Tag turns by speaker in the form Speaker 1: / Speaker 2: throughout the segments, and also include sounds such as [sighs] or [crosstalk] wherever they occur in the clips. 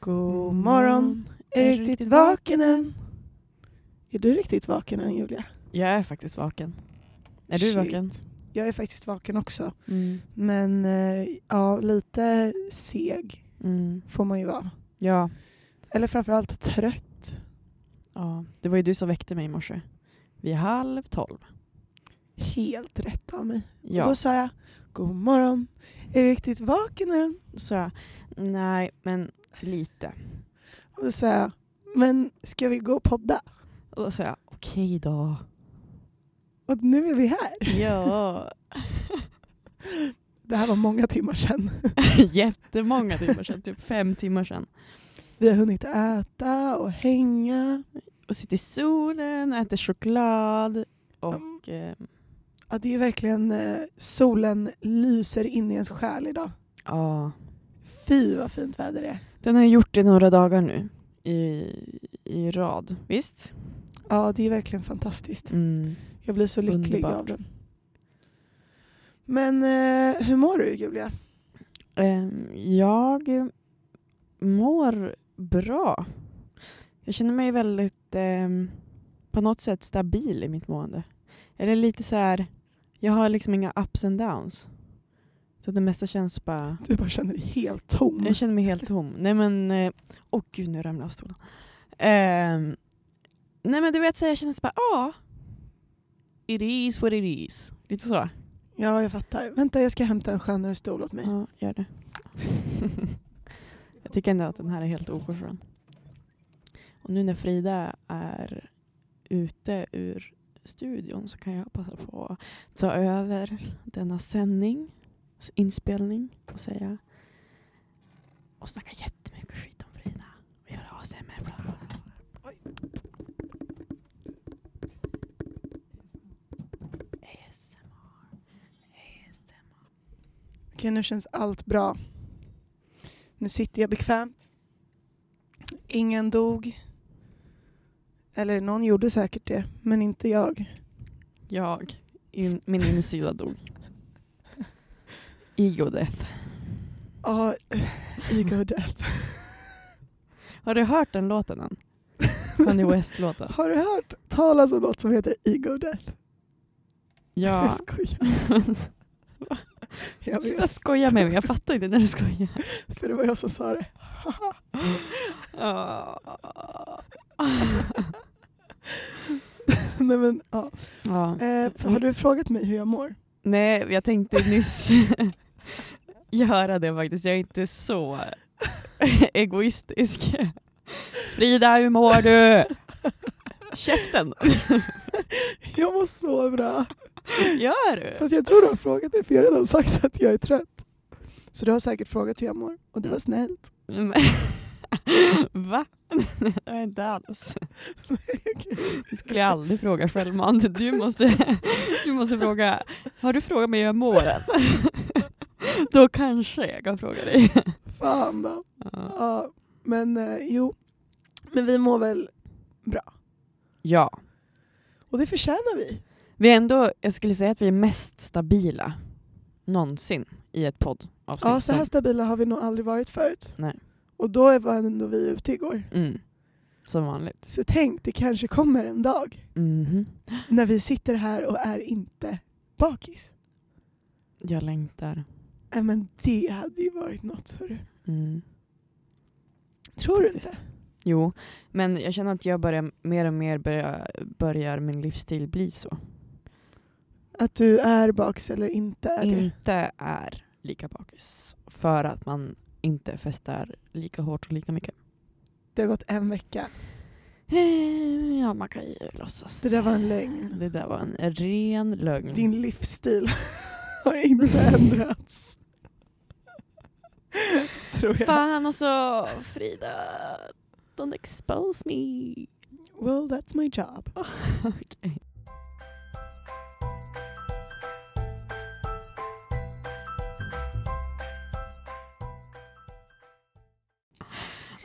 Speaker 1: God
Speaker 2: Mm.
Speaker 1: morgon. Är du riktigt vaken än? Är du riktigt vaken än Julia?
Speaker 2: Jag är faktiskt vaken. Är du
Speaker 1: Shit.
Speaker 2: vaken?
Speaker 1: Jag är faktiskt vaken också.
Speaker 2: Mm.
Speaker 1: Men eh, ja, lite seg
Speaker 2: Mm.
Speaker 1: får man ju vara.
Speaker 2: Ja.
Speaker 1: Eller framförallt trött.
Speaker 2: ja. Det var ju du som väckte mig i morse. Vid halv tolv.
Speaker 1: Helt rätt av mig.
Speaker 2: Ja.
Speaker 1: Och då sa jag God morgon. Är du riktigt vaken än?
Speaker 2: sa jag, nej men lite.
Speaker 1: Och då sa jag Men ska vi gå och podda?
Speaker 2: Och då sa jag, okej då.
Speaker 1: Och nu är vi här.
Speaker 2: [laughs] Ja.
Speaker 1: Det här var många timmar sedan.
Speaker 2: [laughs] Jättemånga timmar sedan, typ fem timmar sedan.
Speaker 1: Vi har hunnit äta och hänga.
Speaker 2: Och sitter i solen, äter choklad och eh,
Speaker 1: Ja, det är verkligen eh, solen lyser in i ens själ idag.
Speaker 2: ja.
Speaker 1: Fy vad fint väder det är.
Speaker 2: Den har ju gjort det några dagar nu i, i rad. Visst?
Speaker 1: Ja, det är verkligen fantastiskt.
Speaker 2: Mm.
Speaker 1: Jag blir så lycklig
Speaker 2: Underbart.
Speaker 1: av den. Men eh, hur mår du Julia?
Speaker 2: Ehm, Jag mår bra. Jag känner mig väldigt ehm, på något sätt stabil i mitt mående. Eller lite så här, jag har liksom inga ups and downs. Så det mesta känns bara,
Speaker 1: Du bara känner dig helt tom.
Speaker 2: jag känner mig helt tom. Nej men, eh, åh gud nu ramlade jag av stolen. Ehm, nej men du vet så här, jag känner så bara, ja. It is what it is. Lite så.
Speaker 1: Ja, jag fattar. Vänta, jag ska hämta en skönare stol åt mig.
Speaker 2: Ja, gör det. jag tycker ändå att den här är helt oskön. Och nu när Frida är ute ur studion så kan jag passa på att ta över denna sändning, inspelning och säga och snacka jättemycket skit om Frida och göra ASMR. Bla bla bla. ASMR. ASMR.
Speaker 1: Okej, nu känns allt bra. Nu sitter jag bekvämt. Ingen dog. Eller någon gjorde säkert det, men inte jag.
Speaker 2: Jag, in, min insida dog. Ego death.
Speaker 1: Ja, [sighs] ego death.
Speaker 2: Har du hört den låten än? Kanye West-låten?
Speaker 1: Har du hört talas om något som heter ego death? Jag
Speaker 2: [laughs] Ja.
Speaker 1: skojar. Jag
Speaker 2: Sluta
Speaker 1: vet,
Speaker 2: skoja med mig, jag fattar inte när du skojar.
Speaker 1: för det var jag som sa det. Nej, men, ja.
Speaker 2: Ja.
Speaker 1: eh, har du frågat mig hur jag
Speaker 2: [laughs]
Speaker 1: mår?
Speaker 2: Nej, jag tänkte nyss [laughs] göra det faktiskt. Jag är inte så [laughs] egoistisk. Frida, hur mår du? Käften!
Speaker 1: Jag mår så bra.
Speaker 2: Gör du?
Speaker 1: Fast jag tror du har frågat det, för jag har redan sagt att jag är trött. Så du har säkert frågat hur jag mår, och det var snällt.
Speaker 2: Men- [laughs] Va? Nej, det har jag
Speaker 1: [laughs]
Speaker 2: inte alls. Det skulle jag aldrig fråga självmant. Du måste, du måste fråga, har du frågat mig hur jag mår [laughs] än? Då kanske jag kan fråga dig.
Speaker 1: Fan då.
Speaker 2: Ja.
Speaker 1: Ja, men eh, jo. Men vi mår väl,
Speaker 2: Ja,
Speaker 1: och det förtjänar vi.
Speaker 2: vi är ändå, jag skulle säga att vi är mest stabila någonsin i ett poddavsnitt.
Speaker 1: Ja, så här
Speaker 2: som-
Speaker 1: stabila har vi nog aldrig varit förut.
Speaker 2: Nej.
Speaker 1: Och då var ändå vi ute igår.
Speaker 2: mm, som vanligt.
Speaker 1: Så tänk, det kanske kommer en dag
Speaker 2: Mhm.
Speaker 1: när vi sitter här och är inte bakis.
Speaker 2: Jag längtar.
Speaker 1: Nej men det hade ju varit något, hörru.
Speaker 2: Mm.
Speaker 1: Tror du
Speaker 2: Faktiskt.
Speaker 1: inte?
Speaker 2: Jo, men jag känner att jag börjar, mer och mer börjar, börjar min livsstil bli så.
Speaker 1: Att du är bakis eller inte är det?
Speaker 2: inte är lika bakis. För att man inte festar lika hårt och lika mycket.
Speaker 1: Det har gått en vecka.
Speaker 2: Ja, man kan ju låtsas.
Speaker 1: Det där var en lögn.
Speaker 2: Det där var en ren lögn.
Speaker 1: Din livsstil [laughs] har inte
Speaker 2: [laughs]
Speaker 1: ändrats. Tror jag.
Speaker 2: Fan och så Frida, don't expose me.
Speaker 1: Well, that's my job.
Speaker 2: Okej.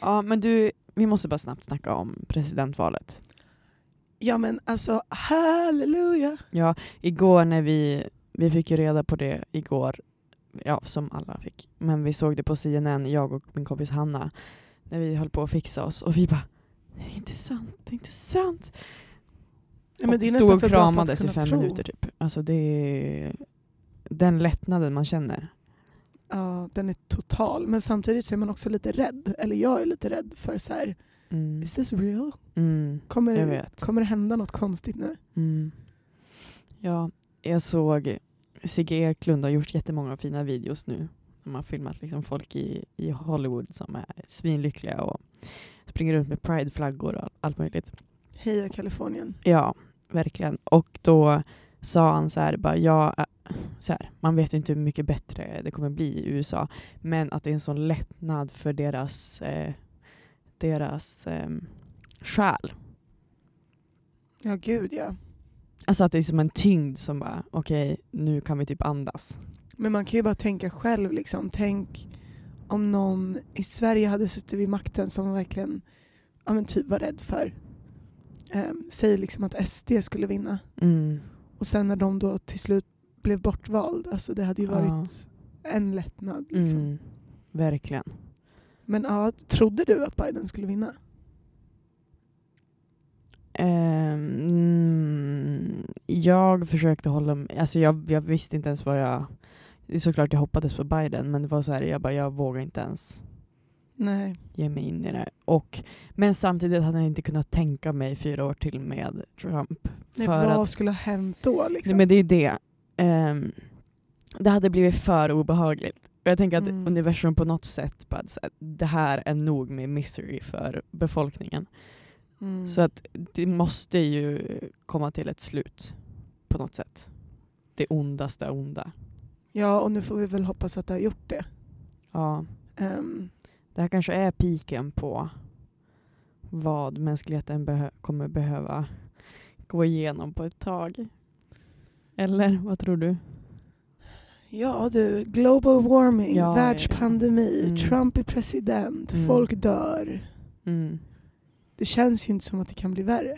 Speaker 2: Ja, men du, vi måste bara snabbt snacka om presidentvalet.
Speaker 1: Ja men alltså, halleluja!
Speaker 2: Ja, igår när vi, vi fick ju reda på det igår, ja som alla fick, men vi såg det på CNN, jag och min kompis Hanna, när vi höll på att fixa oss och vi bara det är inte sant, det är inte sant.
Speaker 1: Ja, men det är
Speaker 2: och
Speaker 1: nästan
Speaker 2: stod och
Speaker 1: för bra för att
Speaker 2: kramades i
Speaker 1: kunna
Speaker 2: fem
Speaker 1: tro.
Speaker 2: minuter typ. Alltså det är den lättnaden man känner.
Speaker 1: Ja, den är total. Men samtidigt så är man också lite rädd. Eller jag är lite rädd för så här,
Speaker 2: Mm.
Speaker 1: is this real?
Speaker 2: Mm. Jag
Speaker 1: Kommer,
Speaker 2: vet.
Speaker 1: kommer det hända något konstigt nu?
Speaker 2: Mm. Ja, jag såg Sigge Eklund har gjort jättemånga fina videos nu. De har filmat liksom folk i, i Hollywood som är svinlyckliga och springer runt med prideflaggor och all, allt möjligt.
Speaker 1: Heja Kalifornien.
Speaker 2: Ja, verkligen. Och då sa han så här, bara, ja, äh, så här, man vet ju inte hur mycket bättre det kommer bli i USA, men att det är en sån lättnad för deras, eh, deras eh, själ.
Speaker 1: Ja, gud ja.
Speaker 2: Alltså att det är som en tyngd som bara, okej, nu kan vi typ andas.
Speaker 1: Men man kan ju bara tänka själv. Liksom. Tänk om någon i Sverige hade suttit vid makten som verkligen ja, men typ var rädd för. Um, säg liksom att SD skulle vinna.
Speaker 2: Mm.
Speaker 1: Och sen när de då till slut blev bortvald. Alltså det hade ju
Speaker 2: Ja.
Speaker 1: varit en lättnad. Liksom.
Speaker 2: Mm. Verkligen.
Speaker 1: Men ja, trodde du att Biden skulle vinna?
Speaker 2: Ehm, mm, jag försökte hålla mig, alltså jag, jag visste inte ens vad jag, det är såklart jag hoppades på Biden men det var så här, jag bara, jag vågar inte ens
Speaker 1: Nej.
Speaker 2: ge mig in i det. Och, men samtidigt hade jag inte kunnat tänka mig fyra år till med Trump.
Speaker 1: Nej
Speaker 2: För
Speaker 1: vad
Speaker 2: att-
Speaker 1: skulle ha hänt då?
Speaker 2: Nej,
Speaker 1: Liksom?
Speaker 2: men det är det. Ehm, det hade blivit för obehagligt. Och jag tänker att
Speaker 1: Mm.
Speaker 2: universum på något sätt bara, så här, det här är nog med misery för befolkningen.
Speaker 1: Mm.
Speaker 2: Så att det måste ju komma till ett slut på något sätt. Det ondaste onda.
Speaker 1: Ja, och nu får vi väl hoppas att det har gjort det.
Speaker 2: Ja,
Speaker 1: Ehm,
Speaker 2: det här kanske är piken på vad mänskligheten behö- kommer behöva gå igenom på ett tag. Eller vad tror du?
Speaker 1: ja du, global warming,
Speaker 2: Ja,
Speaker 1: världspandemi,
Speaker 2: ja, ja. Mm.
Speaker 1: Trump är president,
Speaker 2: Mm.
Speaker 1: folk dör.
Speaker 2: Mm.
Speaker 1: Det känns ju inte som att det kan bli värre.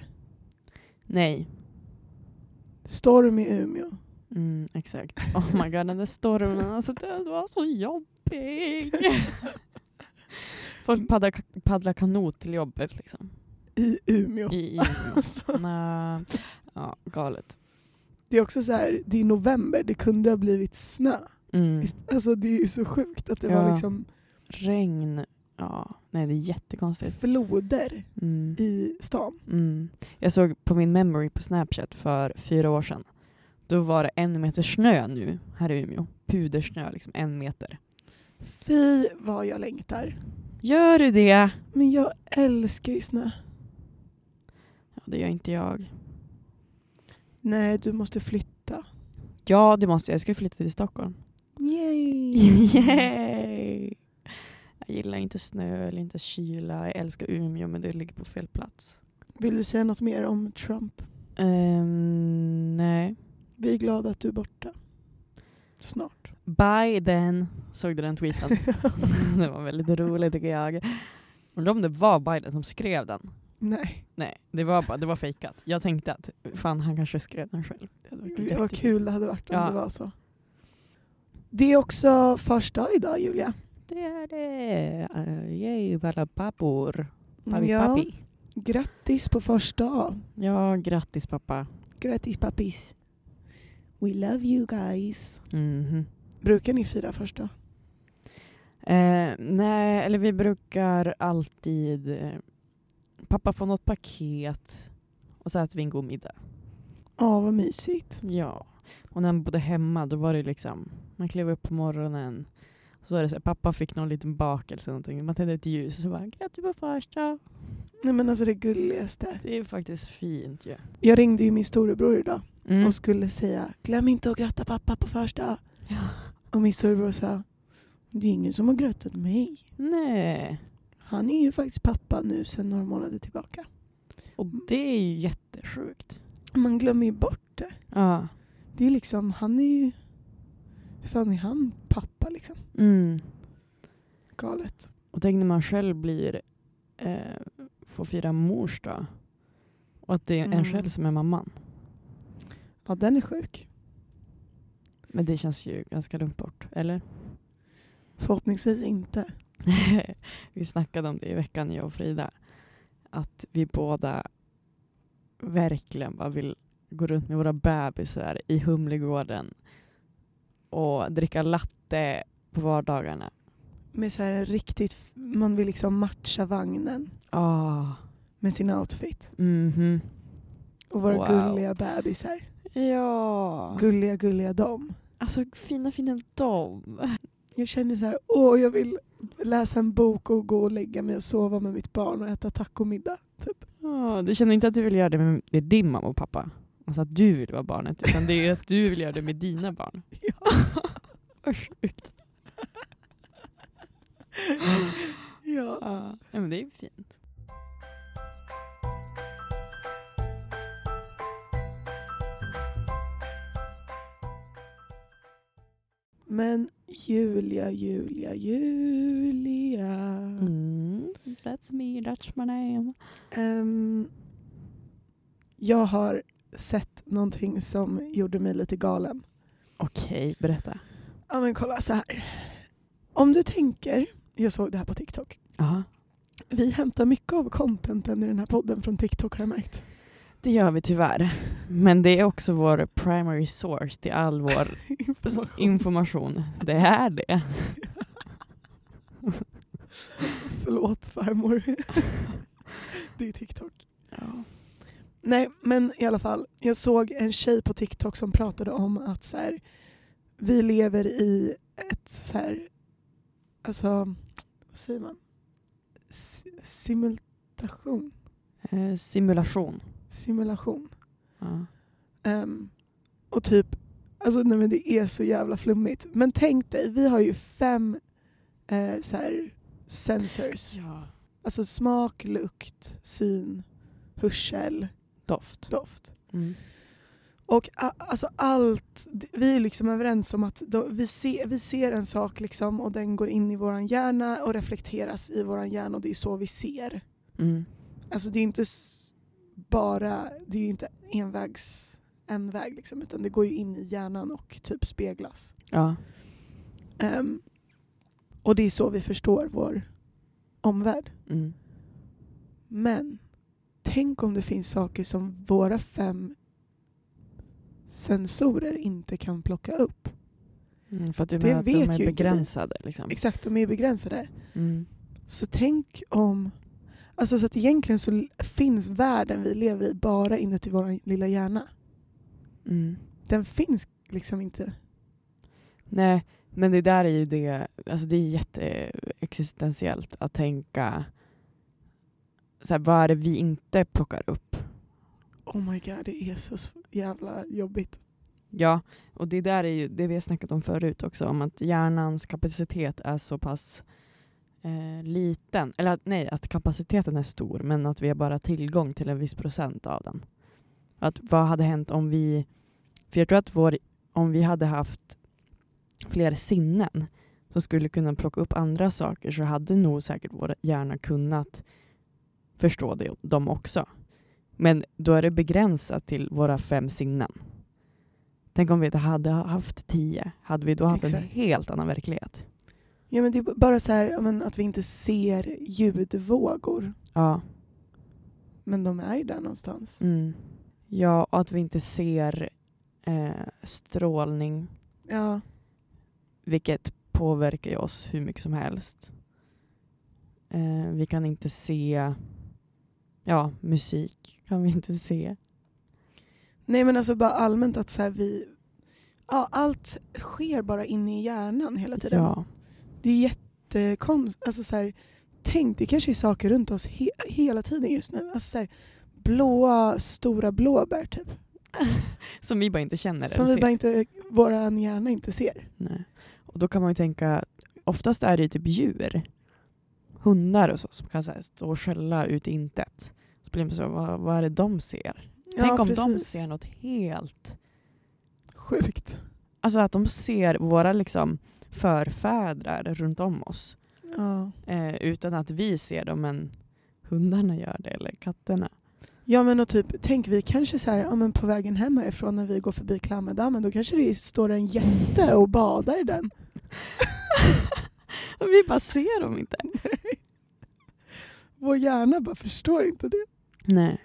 Speaker 2: Nej.
Speaker 1: Storm i Umeå.
Speaker 2: Mm, exakt. Oh my god, den där stormen, alltså den var så [laughs] jobbig. Folk paddlar, paddlar kanot till jobbet liksom.
Speaker 1: I Umeå.
Speaker 2: I, i, [laughs]
Speaker 1: Alltså,
Speaker 2: Nä. Ja, galet.
Speaker 1: det är också så här, det är november, det kunde ha blivit snö.
Speaker 2: Mm.
Speaker 1: Ist- Alltså det är ju så sjukt att det
Speaker 2: Ja.
Speaker 1: var liksom
Speaker 2: Regn. Ja, nej det är jättekonstigt.
Speaker 1: floder
Speaker 2: Mm.
Speaker 1: i stan.
Speaker 2: Mm. Jag såg på min memory på Snapchat för fyra år sedan. Då var det en meter snö nu här i Umeå. Pudersnö, liksom en meter.
Speaker 1: Fy vad jag längtar.
Speaker 2: Gör du det?
Speaker 1: Men jag älskar ju snö.
Speaker 2: Ja, det gör inte jag.
Speaker 1: Nej, du måste flytta.
Speaker 2: Ja, det måste jag. Jag ska ju flytta till Stockholm. [laughs]
Speaker 1: Yay!
Speaker 2: Yay! Jag gillar inte snö eller inte kyla. Jag älskar Umeå men det ligger på fel plats.
Speaker 1: Vill du säga något mer om Trump?
Speaker 2: Ehm, nej.
Speaker 1: Vi är glada att du är borta. Snart.
Speaker 2: Biden. Såg du den tweeten? [laughs] den var väldigt rolig tycker jag. Undrar om det var Biden som skrev den?
Speaker 1: Nej,
Speaker 2: Nej, det var bara det var fejkat. Jag tänkte att fan han kanske skrev den själv. Det hade varit
Speaker 1: vad
Speaker 2: jättekul.
Speaker 1: kul det hade varit om
Speaker 2: Ja.
Speaker 1: det var så. Det är också fars dag idag, Julia.
Speaker 2: Det är det. Uh, yay, alla pappor. Pappi,
Speaker 1: Mm, ja.
Speaker 2: pappi.
Speaker 1: Grattis på fars dag.
Speaker 2: Ja, grattis pappa.
Speaker 1: Grattis pappis. We love you guys.
Speaker 2: Mhm.
Speaker 1: Brukar ni fira fars dag?
Speaker 2: Eh, nej, eller vi brukar alltid... eh, Pappa får något paket och så äter vi en god middag.
Speaker 1: Ja, vad mysigt.
Speaker 2: Ja, och när han bodde hemma då var det liksom, man klev upp på morgonen så var det så här, pappa fick någon liten bakelse eller någonting. Man tände ett ljus och så bara grattis på första.
Speaker 1: Nej men alltså det gulligaste.
Speaker 2: Det är faktiskt fint ju.
Speaker 1: Jag ringde ju min storebror idag
Speaker 2: Mm.
Speaker 1: och skulle säga glöm inte att gratta pappa på fars dag.
Speaker 2: Ja.
Speaker 1: Och min storebror sa det är ingen som har grattat mig.
Speaker 2: Nej,
Speaker 1: Han är ju faktiskt pappa nu sedan några månader tillbaka.
Speaker 2: och det är ju jättesjukt.
Speaker 1: Man glömmer ju bort det.
Speaker 2: Ja.
Speaker 1: Det är liksom, han är ju... Hur fan är han pappa liksom?
Speaker 2: Mm.
Speaker 1: Galet.
Speaker 2: Och tänk när man själv blir, eh, får fira mors dag och att det är en
Speaker 1: Mm.
Speaker 2: själv som är mamman.
Speaker 1: Ja, den är sjuk.
Speaker 2: Men det känns ju ganska långt bort, eller? [laughs]
Speaker 1: Förhoppningsvis inte.
Speaker 2: vi snackade om det i veckan, jag och Frida. Att vi båda verkligen bara vill gå runt med våra bebisar i Humlegården och dricka latte på vardagarna.
Speaker 1: Med så här riktigt, f- man vill liksom matcha vagnen
Speaker 2: Ah,
Speaker 1: med sin outfit.
Speaker 2: mhm.
Speaker 1: Och våra
Speaker 2: Wow.
Speaker 1: gulliga bebisar.
Speaker 2: Ja.
Speaker 1: Gulliga, gulliga dom.
Speaker 2: Alltså fina fina dom.
Speaker 1: Jag känner så här, åh jag vill läsa en bok och gå och lägga mig och sova med mitt barn och äta tacomiddag. Typ.
Speaker 2: Ja, Ah, du känner inte att du vill göra det med det är din mamma och pappa? Alltså att du vill vara barnet, utan det är att du vill göra det med dina [laughs] barn.
Speaker 1: Ja. ja.
Speaker 2: Ja, Ah, ja, men det är ju fint.
Speaker 1: Men Julia, Julia, Julia.
Speaker 2: Mm. That's me, that's my name.
Speaker 1: Ehm, jag har sett någonting som gjorde mig lite galen.
Speaker 2: Okej, berätta.
Speaker 1: Ja men kolla så här. Om du tänker, jag såg det här på TikTok.
Speaker 2: Ja.
Speaker 1: Vi hämtar mycket av contenten i den här podden från TikTok har jag märkt. [laughs]
Speaker 2: Det gör vi tyvärr. Men det är också vår primary source till all [laughs] vår information. Det är det.
Speaker 1: Förlåt farmor. [laughs] det är TikTok. Nej, men i alla fall. Jag såg en tjej på TikTok som pratade om att så här, vi lever i ett så här, alltså, vad säger man? S- simulation.
Speaker 2: Eh, Simulation.
Speaker 1: Simulation.
Speaker 2: Ja.
Speaker 1: Ehm, och typ, alltså nej men det är så jävla flummigt. Men tänk dig, vi har ju fem eh, så här, sensors. Alltså smak, lukt, syn, hörsel,
Speaker 2: Doft.
Speaker 1: doft.
Speaker 2: Mm.
Speaker 1: Och a- alltså allt, d- vi är liksom överens om att då, vi, ser, vi ser en sak liksom och den går in i vår hjärna och reflekteras i vår hjärna och det är så vi ser.
Speaker 2: Mm.
Speaker 1: Alltså det är inte s- bara, det är ju inte envägs, en väg liksom utan det går ju in i hjärnan och typ speglas.
Speaker 2: Ja.
Speaker 1: Ehm, och det är så vi förstår vår omvärld.
Speaker 2: Mm.
Speaker 1: Men tänk om det finns saker som våra fem sensorer inte kan plocka upp.
Speaker 2: Mm, för att du
Speaker 1: Det
Speaker 2: menar att de
Speaker 1: vet
Speaker 2: är
Speaker 1: ju inte vi.
Speaker 2: begränsade liksom.
Speaker 1: Exakt, de är ju begränsade.
Speaker 2: Mm.
Speaker 1: Så tänk om... Alltså så att egentligen så l- finns världen vi lever i bara inuti vår lilla hjärna.
Speaker 2: Mm.
Speaker 1: Den finns liksom inte.
Speaker 2: Nej, men det där är ju det, alltså det är jätteexistentiellt att tänka så här, vad är det vi inte plockar upp?
Speaker 1: Oh my god, det är så s- jävla jobbigt.
Speaker 2: Ja, och det där är ju det vi har snackat om förut också, om att hjärnans kapacitet är så pass eh, liten, eller att, nej, att kapaciteten är stor, men att vi har bara tillgång till en viss procent av den. Att vad hade hänt om vi, för jag tror att vår, om vi hade haft fler sinnen som skulle kunna plocka upp andra saker så hade nog säkert vår hjärna kunnat förstå det, dem också. Men då är det begränsat till våra fem sinnen. Tänk om vi inte hade haft tio, hade vi då haft en
Speaker 1: Exakt.
Speaker 2: helt annan verklighet?
Speaker 1: Ja men det är b- bara så här ja, men att vi inte ser ljudvågor.
Speaker 2: Ja.
Speaker 1: Men de är ju där någonstans.
Speaker 2: Mm. Ja, och att vi inte ser eh, strålning,
Speaker 1: Ja,
Speaker 2: vilket påverkar ju oss hur mycket som helst. Eh, vi kan inte se ja, musik. kan vi inte se.
Speaker 1: Nej men alltså bara allmänt att så här vi... Ja, allt sker bara inne i hjärnan hela tiden.
Speaker 2: Ja.
Speaker 1: Det är jättekonstigt. Alltså, så här, tänk, det kanske är saker runt oss he- hela tiden just nu. Alltså, så här, blåa, stora blåbär typ.
Speaker 2: Som vi bara inte känner
Speaker 1: Som
Speaker 2: eller
Speaker 1: vi
Speaker 2: ser.
Speaker 1: bara inte, våran hjärna inte ser.
Speaker 2: Nej. Och då kan man ju tänka, oftast är det ju typ djur. Hundar och så som kan så här, stå och skälla ut i intet. Så blir man så, här, vad, vad är det de ser? Tänk
Speaker 1: Ja,
Speaker 2: om de
Speaker 1: precis.
Speaker 2: ser något helt
Speaker 1: Sjukt.
Speaker 2: Alltså att de ser våra liksom, förfäder runt om oss
Speaker 1: Ja.
Speaker 2: eh, utan att vi ser dem men hundarna gör det eller katterna. [laughs]
Speaker 1: ja men och typ, tänk vi kanske så här, ja, men på vägen hem härifrån när vi går förbi Klammerdammen då kanske det står en jätte och badar i den.
Speaker 2: Vi bara ser dem inte.
Speaker 1: Vår hjärna bara förstår inte det.
Speaker 2: Nej.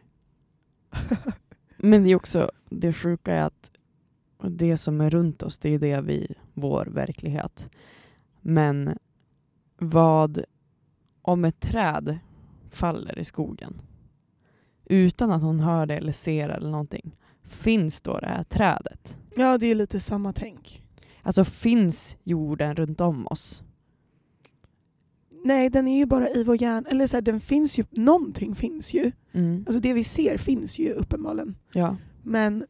Speaker 2: Men det är också det sjuka är att det som är runt oss, det är det vi, vår verklighet. Men vad om ett träd faller i skogen utan att hon hör det eller ser eller någonting. Finns då det här trädet?
Speaker 1: [laughs] Ja, det är lite samma tänk.
Speaker 2: Alltså finns jorden runt om oss?
Speaker 1: Nej, den är ju bara i vår hjärna. Eller så här, den finns ju, någonting finns ju.
Speaker 2: Mm.
Speaker 1: Alltså det vi ser finns ju uppenbarligen.
Speaker 2: Ja.
Speaker 1: Men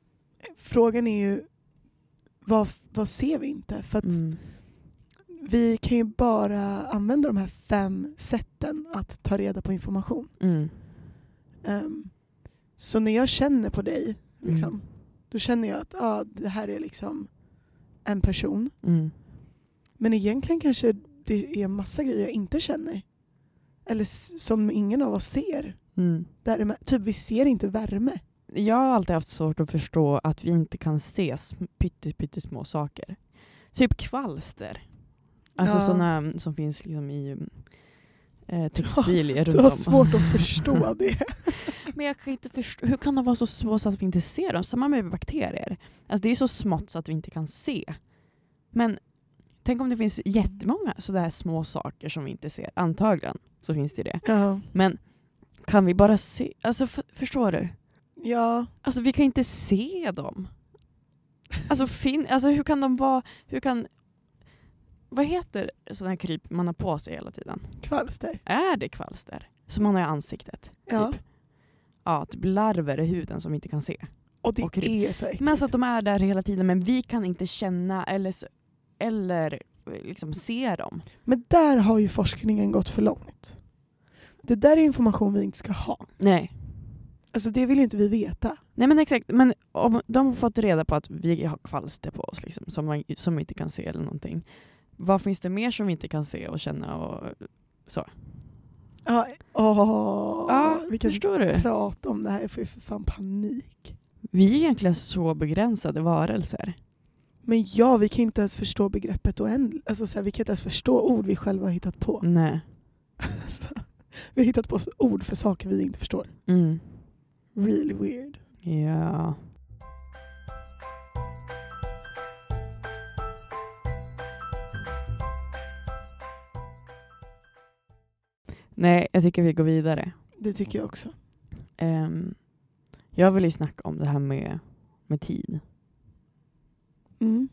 Speaker 1: frågan är ju vad, vad ser vi inte? För att
Speaker 2: Mm.
Speaker 1: vi kan ju bara använda de här fem sätten att ta reda på information.
Speaker 2: Mm.
Speaker 1: Ehm, så när jag känner på dig, liksom,
Speaker 2: Mm.
Speaker 1: då känner jag att ah, det här är liksom en person.
Speaker 2: Mm.
Speaker 1: Men egentligen kanske det är massa grejer jag inte känner. Eller s- som ingen av oss ser.
Speaker 2: Mm.
Speaker 1: Där, typ vi ser inte värme.
Speaker 2: Jag har alltid haft svårt att förstå att vi inte kan se sm- pytte- pyttesmå saker. Typ kvalster. Alltså
Speaker 1: Ja.
Speaker 2: sådana som finns liksom i eh, textilier
Speaker 1: Du har
Speaker 2: runt om.
Speaker 1: svårt att
Speaker 2: [laughs]
Speaker 1: förstå det.
Speaker 2: Men jag kan inte förstå, hur kan de vara så små så att vi inte ser dem? Samma med bakterier. Alltså det är så smått så att vi inte kan se. Men tänk om det finns jättemånga sådär små saker som vi inte ser. Antagligen så finns det ju det.
Speaker 1: Ja.
Speaker 2: Men kan vi bara se, alltså f- förstår du?
Speaker 1: ja.
Speaker 2: Alltså vi kan inte se dem. Alltså, fin- alltså hur kan de vara, hur kan... Vad heter sådana här kryp man har på sig hela tiden?
Speaker 1: Kvalster.
Speaker 2: Är det kvalster? Som man har i ansiktet?
Speaker 1: Ja.
Speaker 2: Typ. Ja, typ larver i huden som vi inte kan se.
Speaker 1: Och det
Speaker 2: Och kryp.
Speaker 1: är så äckligt.
Speaker 2: Men alltså att de är där hela tiden men vi kan inte känna eller, s- eller liksom se dem.
Speaker 1: Men där har ju forskningen gått för långt. Det där är information vi inte ska ha.
Speaker 2: Nej.
Speaker 1: Alltså det vill ju inte vi veta.
Speaker 2: Nej men exakt, men om de har fått reda på att vi har kvalster på oss liksom, som, man, som vi inte kan se eller någonting. Vad finns det mer som vi inte kan se och känna och så?
Speaker 1: Ja, åh, vi kan
Speaker 2: förstår du?
Speaker 1: prata om det här. Jag får ju för fan panik.
Speaker 2: Vi är egentligen så begränsade varelser.
Speaker 1: Men ja, vi kan inte ens förstå begreppet oändligt. Alltså, så här, vi kan inte ens förstå ord vi själva har hittat på.
Speaker 2: Nej.
Speaker 1: [laughs] Alltså, vi har hittat på ord för saker vi inte förstår.
Speaker 2: Mm.
Speaker 1: Really weird.
Speaker 2: Ja. Nej, jag tycker vi går vidare.
Speaker 1: Det tycker jag också.
Speaker 2: Ehm, jag vill ju snacka om det här med, med tid.
Speaker 1: Mm.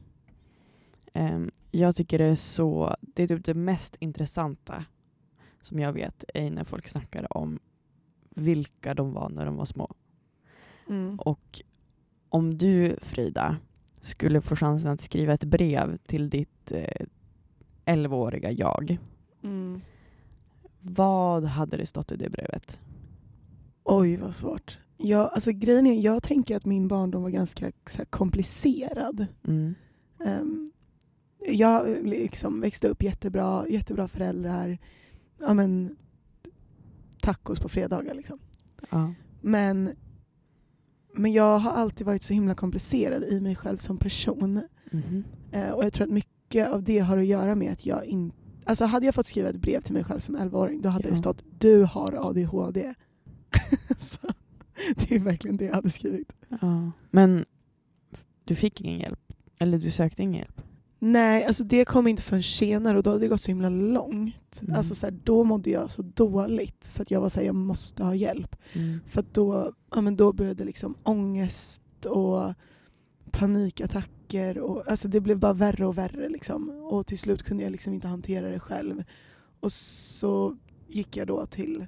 Speaker 2: Ehm, jag tycker det är så, det är typ det mest intressanta som jag vet är när folk snackar om vilka de var när de var små. Och om du Frida skulle få chansen att skriva ett brev till ditt eh, 11-åriga jag.
Speaker 1: Mm.
Speaker 2: Vad hade det stått i det brevet?
Speaker 1: Oj, vad svårt. Jag, alltså, grejen är, jag tänker att min barndom var ganska så här, komplicerad.
Speaker 2: Mm.
Speaker 1: Ehm, jag liksom växte upp jättebra, jättebra föräldrar. Ja, men, tacos på fredagar liksom.
Speaker 2: Ja.
Speaker 1: Men, men jag har alltid varit så himla komplicerad i mig själv som person.
Speaker 2: Mhm.
Speaker 1: Eh, och jag tror att mycket av det har att göra med att jag inte... Alltså hade jag fått skriva ett brev till mig själv som 11-åring då hade
Speaker 2: Ja.
Speaker 1: det stått du har ADHD. [laughs] så, det är verkligen det jag hade skrivit.
Speaker 2: ja. Men du fick ingen hjälp? Eller du sökte ingen hjälp?
Speaker 1: Nej, alltså det kom inte förrän senare och då hade det gått så himla långt.
Speaker 2: Mm.
Speaker 1: Alltså så här, då mådde jag så dåligt så att jag var såhär, jag måste ha hjälp.
Speaker 2: Mm.
Speaker 1: För att då, ja, men då började liksom ångest och panikattacker. Och, alltså det blev bara värre och värre. Liksom. Och till slut kunde jag liksom inte hantera det själv. Och så gick jag då till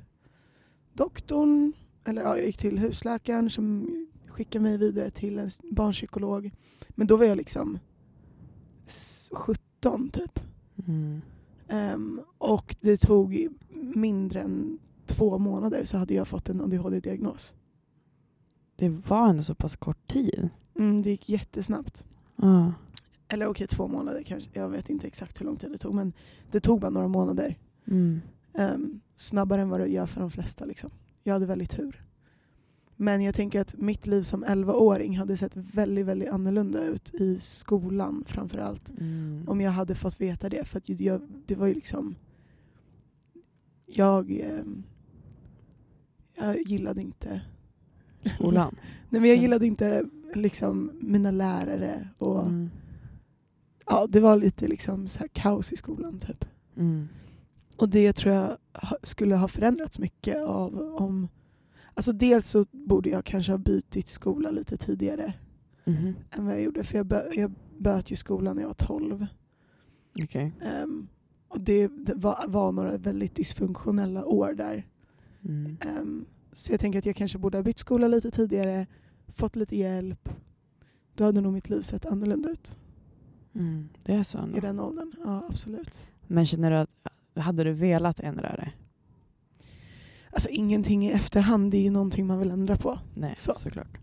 Speaker 1: doktorn, eller ja, jag gick till husläkaren som skickade mig vidare till en s- barnpsykolog. Men då var jag liksom s- 17 typ.
Speaker 2: Mm.
Speaker 1: Ehm, och det tog mindre än två månader så hade jag fått en ADHD-diagnos.
Speaker 2: Det var ändå så pass kort tid.
Speaker 1: Mm, det gick jättesnabbt.
Speaker 2: Ja.
Speaker 1: Eller okej, två månader kanske. Jag vet inte exakt hur lång tid det tog. Men det tog bara några månader.
Speaker 2: Mm.
Speaker 1: Ehm, snabbare än vad det gör för de flesta. Liksom. Jag hade väldigt tur. Men jag tänker att mitt liv som 11-åring hade sett väldigt, väldigt annorlunda ut i skolan framförallt.
Speaker 2: Mm.
Speaker 1: Om jag hade fått veta det. För att jag, det var ju liksom... Jag, eh, jag gillade inte...
Speaker 2: [laughs] Skolan.
Speaker 1: Nej men
Speaker 2: Mm.
Speaker 1: jag gillade inte liksom mina lärare. Och,
Speaker 2: Mm.
Speaker 1: ja, det var lite liksom så här kaos i skolan typ.
Speaker 2: Mm.
Speaker 1: Och det tror jag ha- skulle ha förändrats mycket av om... Alltså dels så borde jag kanske ha bytt skola lite tidigare
Speaker 2: Mhm.
Speaker 1: än vad jag gjorde. För jag, bö- jag böt ju skolan när jag var 12.
Speaker 2: Okej.
Speaker 1: Ehm, och det, det var, var några väldigt dysfunktionella år där.
Speaker 2: Mm.
Speaker 1: Ehm, så jag tänker att jag kanske borde ha bytt skola lite tidigare, fått lite hjälp. Då hade nog mitt liv sett annorlunda ut
Speaker 2: Mm. Det är så. ändå.
Speaker 1: i den åldern. Ja, absolut.
Speaker 2: Men känner du att, hade du velat ändra det?
Speaker 1: Alltså ingenting i efterhand, det är ju någonting man vill ändra på.
Speaker 2: Nej,
Speaker 1: Så.
Speaker 2: såklart.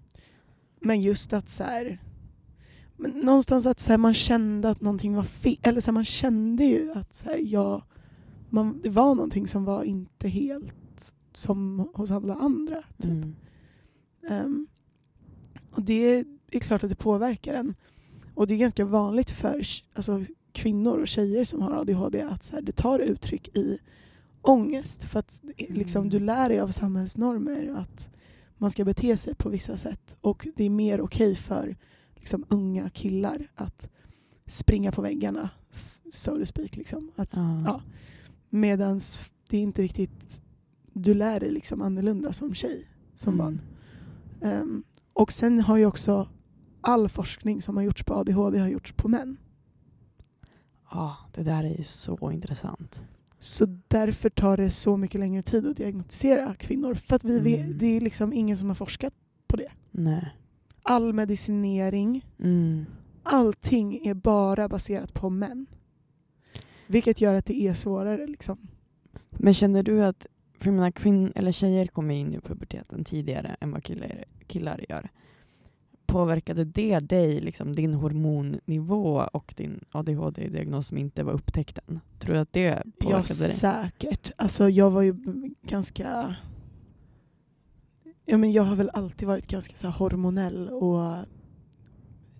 Speaker 1: Men just att så här, men någonstans att så här, man kände att någonting var fel. Eller så här, man kände ju att så här, ja, man, det var någonting som var inte helt som hos alla andra. Typ.
Speaker 2: Mm.
Speaker 1: Ehm, och det är klart att det påverkar en. Och det är ganska vanligt för alltså, kvinnor och tjejer som har ADHD att så här, det tar uttryck i ångest. För att det är liksom,
Speaker 2: Mm.
Speaker 1: du lär dig av samhällsnormer att man ska bete sig på vissa sätt. Och det är mer okej för liksom, unga killar att springa på väggarna, s- so to speak. Liksom. Att
Speaker 2: Ja.
Speaker 1: ja. Medan det är inte riktigt, du lär dig liksom annorlunda som tjej, som
Speaker 2: Mm.
Speaker 1: barn. Ehm, och sen har ju också all forskning som har gjorts på ADHD har gjorts på män.
Speaker 2: Ja, det där är ju så intressant.
Speaker 1: Så därför tar det så mycket längre tid att diagnostisera kvinnor. För att vi
Speaker 2: Mm.
Speaker 1: vet, det är liksom ingen som har forskat.
Speaker 2: Nej.
Speaker 1: All medicinering,
Speaker 2: Mm.
Speaker 1: allting är bara baserat på män. Vilket gör att det är svårare. Liksom.
Speaker 2: Men känner du att, för jag menar kvinn, eller tjejer kommer in i puberteten tidigare än vad killar, killar gör. Påverkade det dig, liksom, din hormonnivå och din ADHD-diagnos som inte var upptäckt än? Tror du att det
Speaker 1: Ja,
Speaker 2: påverkade dig?
Speaker 1: säkert. Alltså, jag var ju b- ganska... Ja, men jag har väl alltid varit ganska så här hormonell och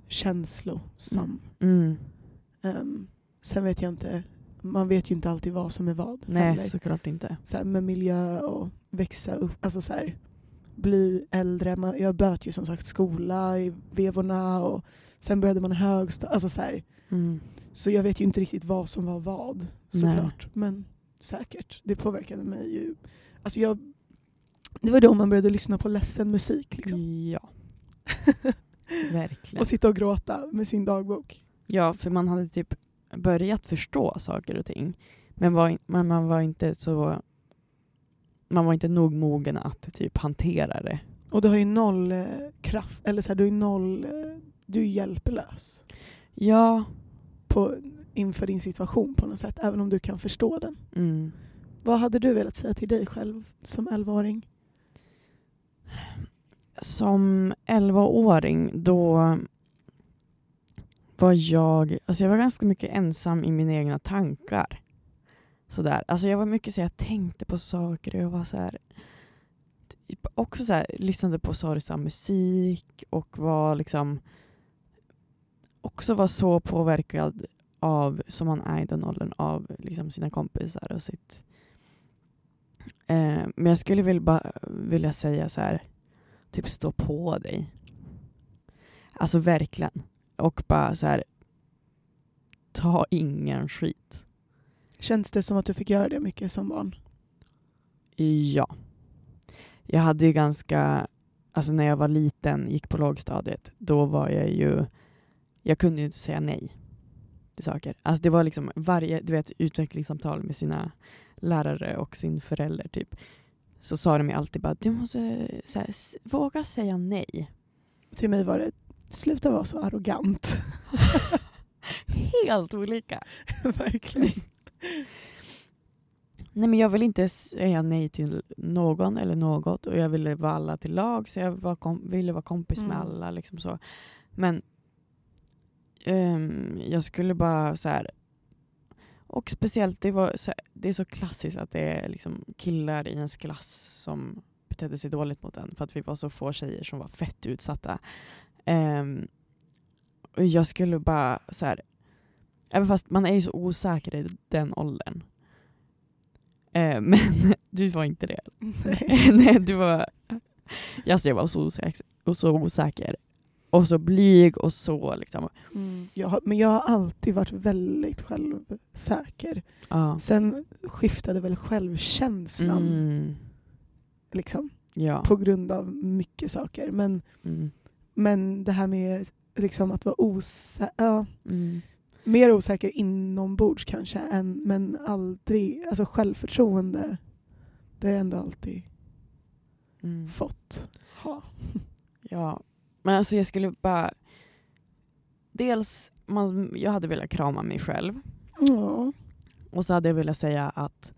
Speaker 1: känslosam.
Speaker 2: Mm.
Speaker 1: Ehm, sen vet jag inte, man vet ju inte alltid vad som är vad. heller.
Speaker 2: Nej, såklart inte.
Speaker 1: Så här, med miljö och växa upp, alltså så här, bli äldre. Man, jag böt ju som sagt skola i vevorna och sen började man högstadiet. Alltså så, här,
Speaker 2: Mm.
Speaker 1: så jag vet ju inte riktigt vad som var vad såklart. Men säkert, det påverkade mig ju. Alltså jag, det var då man började lyssna på ledsen musik liksom. [laughs]
Speaker 2: Ja. Verkligen.
Speaker 1: och sitta och gråta med sin dagbok.
Speaker 2: Ja, för man hade typ börjat förstå saker och ting. Men, var, in- men man var inte så... Man var inte nog mogen att typ hantera det.
Speaker 1: Och du har ju noll eh, kraft, eller så här, du är noll, eh, du är hjälplös
Speaker 2: Ja.
Speaker 1: på, inför din situation på något sätt, även om du kan förstå den.
Speaker 2: Mm.
Speaker 1: Vad hade du velat säga till dig själv som 11-åring?
Speaker 2: Som 11-åring då var jag... Alltså jag var ganska mycket ensam i mina egna tankar. Sådär. Alltså jag var mycket så jag tänkte på saker och jag var så här... Typ också så här, lyssnade på sorgsam musik och var liksom... Också var så påverkad av, som man är i den åldern, av liksom sina kompisar och sitt... Eh, men jag skulle väl bara vilja säga så här typ stå på dig. Alltså verkligen. Och bara så här ta ingen skit.
Speaker 1: Känns det som att du fick göra det mycket som barn?
Speaker 2: Ja. Jag hade ju ganska, alltså när jag var liten, gick på lågstadiet, då var jag ju, jag kunde ju inte säga nej till saker. Alltså det var liksom varje, du vet utvecklingssamtal med sina lärare och sin förälder typ. Så sa de ju alltid bara, du måste så här, s- våga säga nej.
Speaker 1: Till mig var det, sluta vara så arrogant.
Speaker 2: Helt olika.
Speaker 1: [laughs] Verkligen.
Speaker 2: Nej men jag vill inte säga nej till någon eller något och jag ville vara alla till lag så jag var kom- ville vara kompis med
Speaker 1: Mm.
Speaker 2: alla. Liksom så. Men ehm, jag skulle bara så här. Och speciellt, det, var, så här, det är så klassiskt att det är liksom killar i ens klass som betedde sig dåligt mot en för att vi var så få tjejer som var fett utsatta. Ehm, och jag skulle bara så här, även fast man är ju så osäker i den åldern. Ehm, [laughs] men du var inte det. Nej, du var... Alltså jag var så osäker, och så osäker. Och så blyg och så liksom.
Speaker 1: Mm. [laughs] Jag har, men jag har alltid varit väldigt självsäker.
Speaker 2: Ja.
Speaker 1: Sen skiftade väl självkänslan
Speaker 2: Mm.
Speaker 1: liksom,
Speaker 2: Ja.
Speaker 1: på grund av mycket saker. Men,
Speaker 2: Mm.
Speaker 1: men det här med liksom, att vara osä- ja,
Speaker 2: Mm.
Speaker 1: mer osäker inombords kanske, än, men aldrig... Alltså självförtroende, det har jag ändå alltid
Speaker 2: Mm.
Speaker 1: fått ha.
Speaker 2: Ja, men alltså jag skulle bara... Dels, man, jag hade velat krama mig själv.
Speaker 1: Ja.
Speaker 2: Och så hade jag velat säga att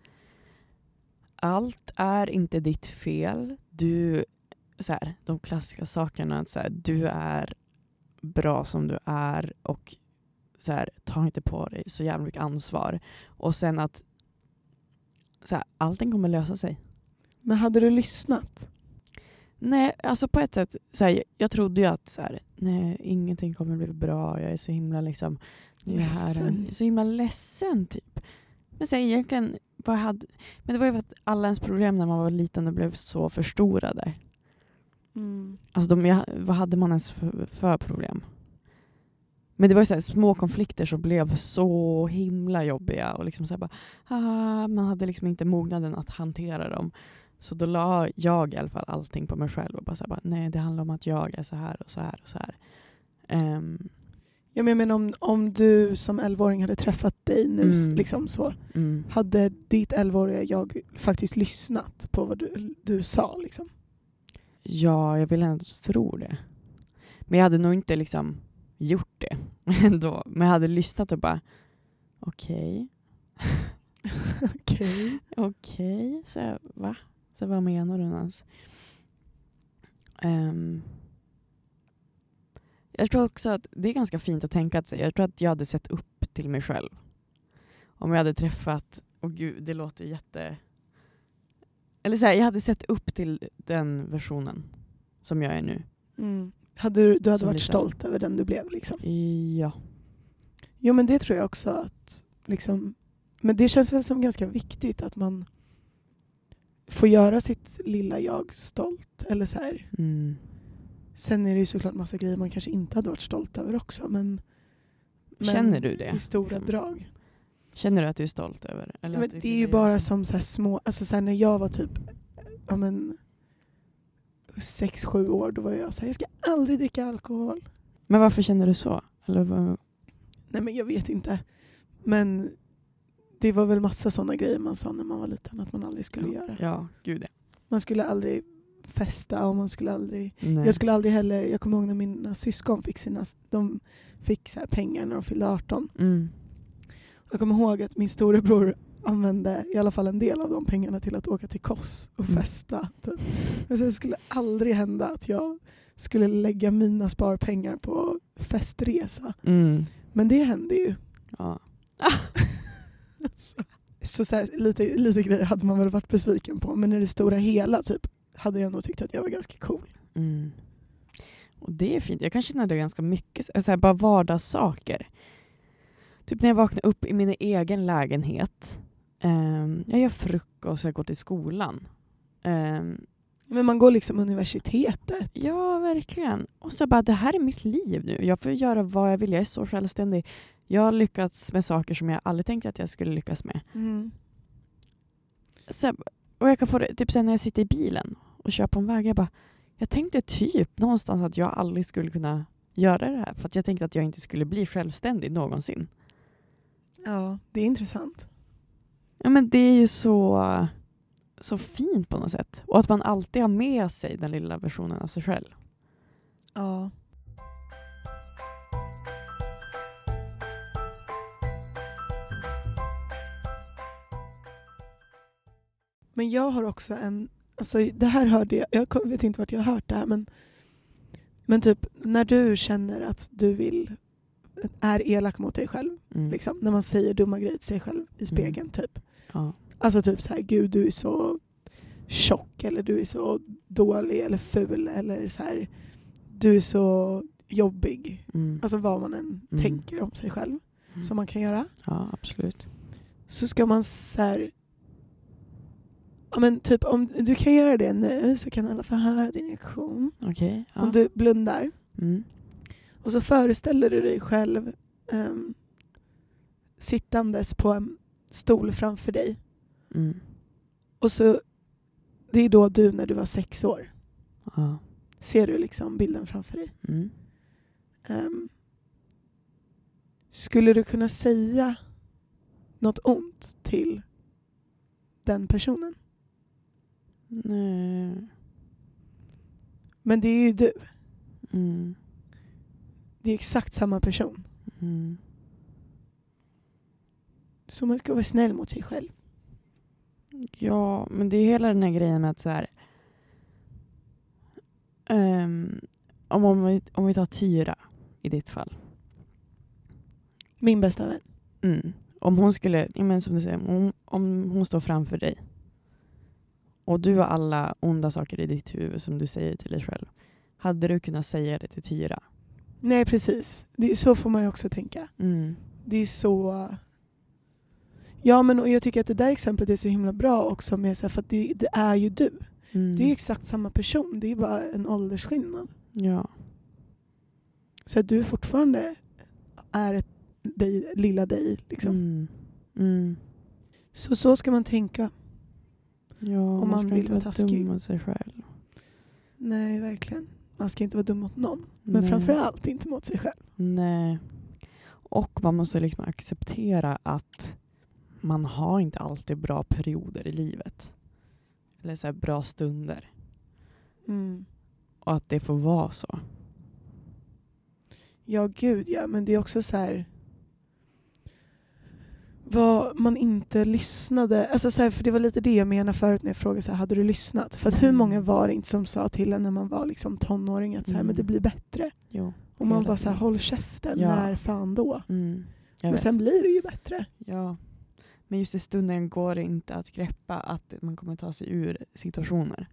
Speaker 2: allt är inte ditt fel. Du, så här, de klassiska sakerna, att så här, du är bra som du är och så här, ta inte på dig så jävla mycket ansvar. Och sen att så här, allting kommer lösa sig.
Speaker 1: Men hade du lyssnat?
Speaker 2: Nej, alltså på ett sätt. Så här, jag- jag trodde ju att så här, nej, ingenting kommer bli bra. Jag är så himla liksom, nu är jag här,
Speaker 1: Ledsen.
Speaker 2: jag är så himla ledsen typ. Men så här, egentligen, vad jag hade, men det var ju för att alla ens problem när man var liten och blev så förstorade. Alltså de, jag, vad hade man ens för, för problem? Men det var ju så här, små konflikter som blev så himla jobbiga och liksom så här bara, ah, man hade liksom inte mognaden att hantera dem. Så då la jag i alla fall allting på mig själv och bara, så här, bara nej det handlar om att jag är så här och så här och så här. Ehm,
Speaker 1: Ja, men jag menar om, om du som 11-åring hade träffat dig nu,
Speaker 2: Mm.
Speaker 1: liksom så.
Speaker 2: mm.
Speaker 1: Hade ditt 11-åriga jag faktiskt lyssnat på vad du, du sa? Liksom?
Speaker 2: Ja, jag vill ändå tro det. Men jag hade nog inte liksom gjort det [laughs] ändå. Men jag hade lyssnat och bara, okej.
Speaker 1: Okej.
Speaker 2: Okej, så jag, va? Så vad menar du ens? Ehm, jag tror också att det är ganska fint att tänka att sig. Jag tror att jag hade sett upp till mig själv. Om jag hade träffat, och gud det låter ju jätte... Eller så här, jag hade sett upp till den versionen som jag är nu.
Speaker 1: Mm. Hade du, du hade
Speaker 2: Som
Speaker 1: varit
Speaker 2: liten.
Speaker 1: stolt över den du blev? Liksom.
Speaker 2: Ja.
Speaker 1: Jo men det tror jag också att liksom, men det känns väl som ganska viktigt att man får göra sitt lilla jag stolt. Eller så här.
Speaker 2: Mm.
Speaker 1: Sen är det ju såklart massa grejer man kanske inte hade varit stolt över också. Men, men
Speaker 2: Känner du det,
Speaker 1: I stora
Speaker 2: liksom?
Speaker 1: drag.
Speaker 2: Känner du att du är stolt över det? Eller
Speaker 1: Ja, men
Speaker 2: att
Speaker 1: det är ju
Speaker 2: är
Speaker 1: bara
Speaker 2: så-
Speaker 1: som så här små, alltså så här när jag var typ ja men, sex sju år då var jag så här, jag ska aldrig dricka alkohol.
Speaker 2: Men varför känner du så? Eller vad...
Speaker 1: Nej men jag vet inte. Men det var väl massa sådana grejer man sa när man var liten att man aldrig skulle göra.
Speaker 2: Ja, gud ja.
Speaker 1: Man skulle aldrig festa och man skulle aldrig,
Speaker 2: Nej.
Speaker 1: jag skulle aldrig heller, jag kommer ihåg när mina syskon fick sina, de fick så här pengar när de fyllde 18.
Speaker 2: Mm.
Speaker 1: Jag kommer ihåg att min storebror använde i alla fall en del av de pengarna till att åka till Kos och
Speaker 2: Mm.
Speaker 1: festa. Typ. Men sen skulle det aldrig hända att jag skulle lägga mina sparpengar på festresa.
Speaker 2: Mm.
Speaker 1: Men det hände ju.
Speaker 2: Ja.
Speaker 1: Så, så här, lite, lite grejer hade man väl varit besviken på men i det stora hela typ hade jag nog tyckt att jag var ganska cool.
Speaker 2: Mm. Och det är fint. Jag kan känna det ganska mycket. Så så här, bara vardagssaker. Typ när jag vaknar upp i min egen lägenhet. Ehm, jag gör frukost, jag går till skolan. Ehm,
Speaker 1: Men man går liksom universitetet.
Speaker 2: ja, verkligen. Och så bara, det här är mitt liv nu. Jag får göra vad jag vill. Jag är så självständig. Jag har lyckats med saker som jag aldrig tänkte att jag skulle lyckas med.
Speaker 1: Mm.
Speaker 2: så här, och jag kan få det, typ sen när jag sitter i bilen och kör på en väg, jag bara, jag tänkte typ någonstans att jag aldrig skulle kunna göra det här för att jag tänkte att jag inte skulle bli självständig någonsin.
Speaker 1: Ja, det är intressant.
Speaker 2: Ja, men det är ju så, så fint på något sätt och att man alltid har med sig den lilla versionen av sig själv.
Speaker 1: Ja. Men jag har också en, alltså det här hörde jag, jag kom- vet inte vart jag har hört det här men, men typ när du känner att du vill, är elak mot dig själv,
Speaker 2: Mm.
Speaker 1: liksom, när man säger dumma grejer till sig själv i spegeln typ.
Speaker 2: Ja.
Speaker 1: Alltså typ så här, gud du är så tjock eller du är så dålig eller ful eller så här, du är så jobbig.
Speaker 2: Mm.
Speaker 1: Alltså vad man än
Speaker 2: Mm.
Speaker 1: tänker om sig själv
Speaker 2: Mm.
Speaker 1: som man kan göra.
Speaker 2: Ja, absolut.
Speaker 1: Så ska man så här, ja men typ om du kan göra det nu så kan alla få höra din reaktion.
Speaker 2: Okej. ja.
Speaker 1: Om du blundar
Speaker 2: Mm.
Speaker 1: och så föreställer du dig själv ehm, sittandes på en stol framför dig
Speaker 2: Mm.
Speaker 1: Och så, det är då du när du var sex år.
Speaker 2: Ja.
Speaker 1: Ser du liksom bilden framför dig.
Speaker 2: Mm.
Speaker 1: Ehm, skulle du kunna säga något ont till den personen?
Speaker 2: Nej.
Speaker 1: Men det är ju du.
Speaker 2: Mm.
Speaker 1: Det är exakt samma person.
Speaker 2: Mm.
Speaker 1: Så man ska vara snäll mot sig själv.
Speaker 2: Ja, men det är hela den här grejen med att så här. Ehm, om, om, vi, om vi tar Tyra i ditt fall.
Speaker 1: Min bästa vän.
Speaker 2: Mm. Om hon skulle, ja, men som du säger, om, hon- om hon står framför dig och du har alla onda saker i ditt huvud som du säger till dig själv. Hade du kunnat säga det till Tyra?
Speaker 1: Nej precis. Det är, så får man ju också tänka.
Speaker 2: Mm.
Speaker 1: Det är så... Ja men och jag tycker att det där exemplet är så himla bra också. Med, så här, för att det, det är ju du.
Speaker 2: Mm.
Speaker 1: Det är ju exakt samma person, det är bara en åldersskillnad.
Speaker 2: Ja.
Speaker 1: Så att du fortfarande är ett, dig, lilla dig. Liksom.
Speaker 2: Mm. Mm.
Speaker 1: Så så ska man tänka.
Speaker 2: Ja, om
Speaker 1: man
Speaker 2: man ska
Speaker 1: vill
Speaker 2: inte
Speaker 1: vara
Speaker 2: vara
Speaker 1: taskig.
Speaker 2: dum mot sig själv.
Speaker 1: Nej, verkligen. Man ska inte vara dum mot någon. Men
Speaker 2: Nej.
Speaker 1: framförallt inte mot sig själv.
Speaker 2: Nej. Och man måste liksom acceptera att man har inte alltid bra perioder i livet. Eller så här bra stunder. Mm. Och att det får vara så.
Speaker 1: Ja, gud ja. Men det är också så här... Vad man inte lyssnade. Alltså så här, för det var lite det jag menade förut när jag frågade så här, hade du lyssnat? För att hur
Speaker 2: Mm.
Speaker 1: många var det inte som sa till en när man var liksom tonåring att så här,
Speaker 2: Mm.
Speaker 1: men det blir bättre?
Speaker 2: Jo.
Speaker 1: Och man
Speaker 2: hela
Speaker 1: bara så här,
Speaker 2: tiden.
Speaker 1: håll käften,
Speaker 2: Ja.
Speaker 1: när fan då?
Speaker 2: Mm, jag
Speaker 1: Men
Speaker 2: vet.
Speaker 1: sen blir det ju bättre.
Speaker 2: Ja. Men just i stunden går det inte att greppa att man kommer ta sig ur situationer.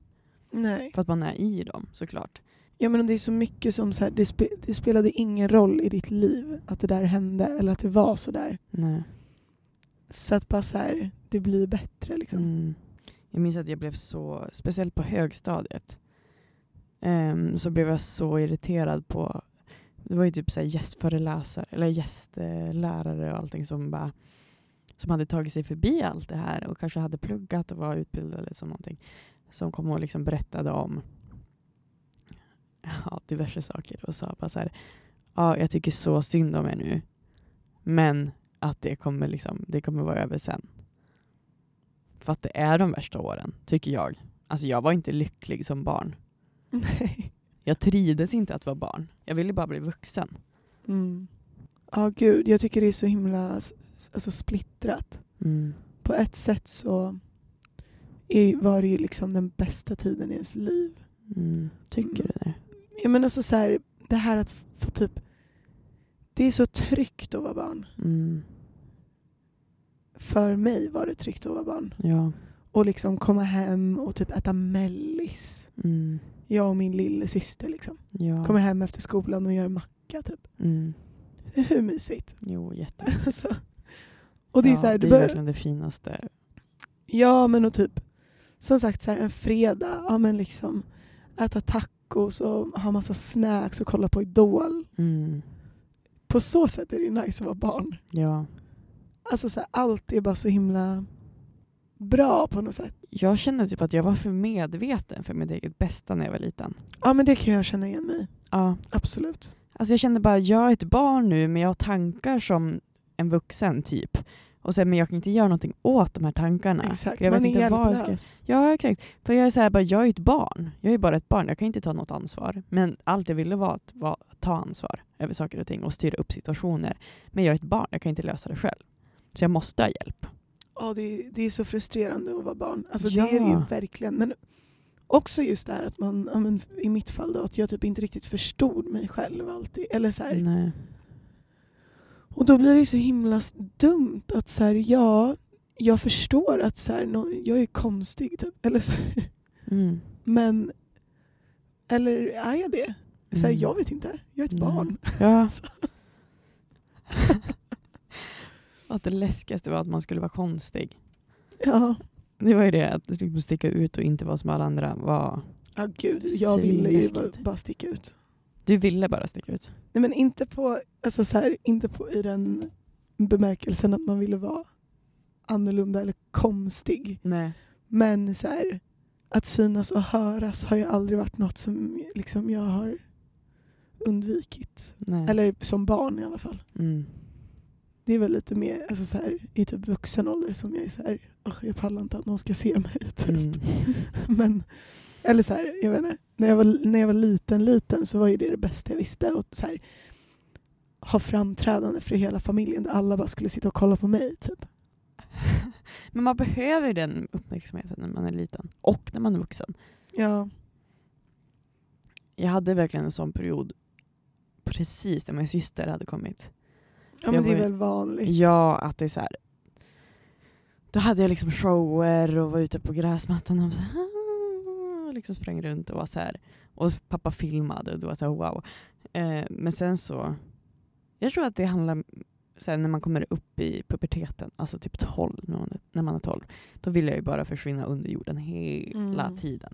Speaker 1: Nej.
Speaker 2: För att man är i dem såklart.
Speaker 1: Ja men det är så mycket som så här, det, spe, det spelade ingen roll i ditt liv att det där hände eller att det var så där.
Speaker 2: Nej.
Speaker 1: Så att bara så här, det blir bättre liksom.
Speaker 2: Mm. Jag minns att jag blev så, speciellt på högstadiet, ehm, så blev jag så irriterad på, det var ju typ så här gästföreläsare eller gästlärare och allting som bara som hade tagit sig förbi allt det här och kanske hade pluggat och var utbildade eller så någonting. Som kom och liksom berättade om ja, diverse saker och sa bara så här, ja jag tycker så synd om er nu men att det kommer, liksom, det kommer vara över sen. För att det är de värsta åren, tycker jag. Alltså jag var inte lycklig som barn.
Speaker 1: [laughs] Nej.
Speaker 2: Jag trivdes inte att vara barn. Jag ville bara bli vuxen.
Speaker 1: Mm. Ja gud, jag tycker det är så himla s- alltså, splittrat.
Speaker 2: Mm.
Speaker 1: På ett sätt så är, var det ju liksom den bästa tiden i ens liv.
Speaker 2: Mm. Tycker du det?
Speaker 1: Jag menar alltså, så här, det här att få typ, det är så tryggt att vara barn.
Speaker 2: Mm.
Speaker 1: För mig var det tryggt att vara barn.
Speaker 2: Ja.
Speaker 1: Och liksom komma hem och typ äta mellis.
Speaker 2: Mm.
Speaker 1: Jag och min lillasyster liksom.
Speaker 2: Ja.
Speaker 1: Kommer hem efter skolan och gör macka typ.
Speaker 2: Mm.
Speaker 1: Hur
Speaker 2: [laughs]
Speaker 1: mysigt?
Speaker 2: Jo, jättemycket.
Speaker 1: Alltså. Och det är
Speaker 2: ja,
Speaker 1: så här, du
Speaker 2: det är
Speaker 1: bör...
Speaker 2: verkligen det finaste.
Speaker 1: Ja men och typ, som sagt så här, en fredag, ja men liksom äta tacos och ha massa snacks och kolla på Idol.
Speaker 2: Mm.
Speaker 1: På så sätt är det ju nice att vara barn.
Speaker 2: Ja.
Speaker 1: Alltså så här, allt är bara så himla bra på något sätt.
Speaker 2: Jag kände typ att jag var för medveten för mitt eget bästa när jag var liten.
Speaker 1: Ja men det kan jag känna igen mig i.
Speaker 2: Ja.
Speaker 1: Absolut.
Speaker 2: Alltså jag kände bara, jag är ett barn nu men jag har tankar som en vuxen typ. Och sen, men jag kan inte göra någonting åt de här tankarna.
Speaker 1: Exakt.
Speaker 2: Jag
Speaker 1: Man är
Speaker 2: vad jag
Speaker 1: hjälplös.
Speaker 2: ska Ja, exakt. För jag är så här, bara, jag är ju ett barn. Jag är bara ett barn. Jag kan inte ta något ansvar. Men allt jag ville var att va, ta ansvar över saker och ting och styra upp situationer. Men jag är ett barn. Jag kan inte lösa det själv. Så jag måste ha hjälp.
Speaker 1: Ja, det är, det är så frustrerande att vara barn. Alltså,
Speaker 2: Ja.
Speaker 1: Det är det ju verkligen. Men också just det här att man, ja, men i mitt fall då, att jag typ inte riktigt förstod mig själv alltid. Eller så här.
Speaker 2: Nej.
Speaker 1: Och då blir det ju så himla s- dumt att så här, ja, jag förstår att så här, nå- jag är konstig typ. [laughs] Eller så här,
Speaker 2: Mm.
Speaker 1: men, eller är jag det? Så här,
Speaker 2: Mm.
Speaker 1: jag vet inte, jag är ett
Speaker 2: Nej.
Speaker 1: barn. [laughs]
Speaker 2: [laughs] Ja. att det läskigaste var att man skulle vara konstig.
Speaker 1: Ja,
Speaker 2: Det var ju det, att liksom sticka ut och inte vara som alla andra. Var...
Speaker 1: ja gud, jag ville ju bara,
Speaker 2: Svinläskigt.
Speaker 1: bara sticka ut.
Speaker 2: Du ville bara sticka ut.
Speaker 1: Nej men inte på, alltså så här, inte på i den bemärkelsen att man ville vara annorlunda eller konstig.
Speaker 2: Nej.
Speaker 1: Men så här, att synas och höras har ju aldrig varit något som liksom, jag har undvikit.
Speaker 2: Nej.
Speaker 1: Eller som barn i alla fall.
Speaker 2: Mm.
Speaker 1: Det är väl lite mer alltså så här, i typ vuxen ålder som jag är så här, "Ugh, jag pallar inte att någon ska se mig. [laughs] Typ.
Speaker 2: Mm.
Speaker 1: Men, eller så här, jag vet inte. När jag, var, när jag var liten, liten så var ju det det bästa jag visste. Och så här, ha framträdande för hela familjen där alla bara skulle sitta och kolla på mig. Typ.
Speaker 2: Men man behöver den uppmärksamheten när man är liten och när man är vuxen.
Speaker 1: Ja.
Speaker 2: Jag hade verkligen en sån period precis när min syster hade kommit.
Speaker 1: ja,
Speaker 2: Jag
Speaker 1: men det är
Speaker 2: var ju-
Speaker 1: väl vanligt.
Speaker 2: Ja, att det är så här. Då hade jag liksom shower och var ute på gräsmattan och så här, liksom sprang runt och var så här. Och pappa filmade och det var så här wow. Eh, men sen så, jag tror att det handlar så här, när man kommer upp i puberteten, alltså typ 12, när man är, när man är 12, då vill jag ju bara försvinna under jorden hela
Speaker 1: Mm.
Speaker 2: tiden.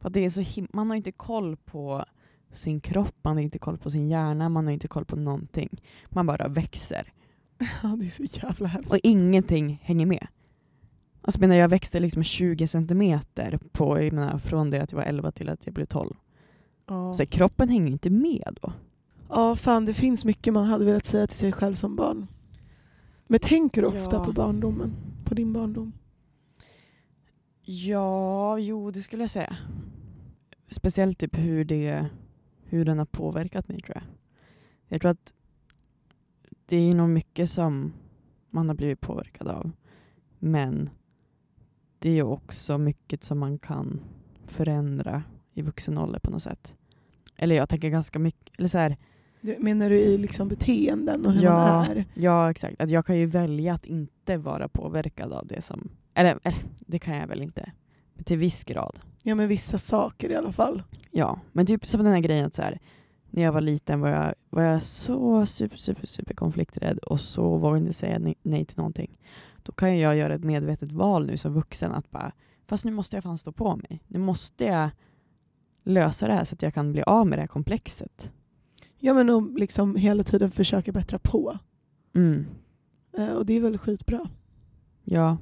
Speaker 2: För att det är så him- man har inte koll på sin kropp, man har inte koll på sin hjärna, man har inte koll på någonting. Man bara växer.
Speaker 1: Ja, det är så jävla hemskt.
Speaker 2: Och ingenting hänger med. Alltså menar jag växte liksom 20 centimeter på, jag menar, från det att jag var 11 till att jag blev 12.
Speaker 1: Ja.
Speaker 2: Så kroppen hänger ju inte med då.
Speaker 1: ja, fan det finns mycket man hade velat säga till sig själv som barn. Men tänker du ofta
Speaker 2: Ja.
Speaker 1: på barndomen? På din barndom?
Speaker 2: Ja, jo det skulle jag säga. Speciellt typ hur, det, hur den har påverkat mig tror jag. Jag tror att det är nog mycket som man har blivit påverkad av. Men det är ju också mycket som man kan förändra i vuxen ålder på något sätt. Eller jag tänker ganska mycket, eller så här,
Speaker 1: Du- Menar du i liksom beteenden och hur
Speaker 2: Ja.
Speaker 1: man är?
Speaker 2: Ja, exakt. Att jag kan ju välja att inte vara påverkad av det som... Eller, eller det kan jag väl inte. Men till viss grad.
Speaker 1: Ja, men vissa saker i alla fall.
Speaker 2: Ja, men typ som den här grejen att så här, när jag var liten var jag, var jag så super, super, super konflikträdd och så vågade jag inte säga ne- nej till någonting. Då kan ju jag göra ett medvetet val nu som vuxen att bara, fast nu måste jag fan stå på mig. Nu måste jag lösa det här så att jag kan bli av med det här komplexet.
Speaker 1: Ja, men och liksom hela tiden försöka bättra på.
Speaker 2: Mm.
Speaker 1: Eh, Och det är väl skitbra.
Speaker 2: Ja.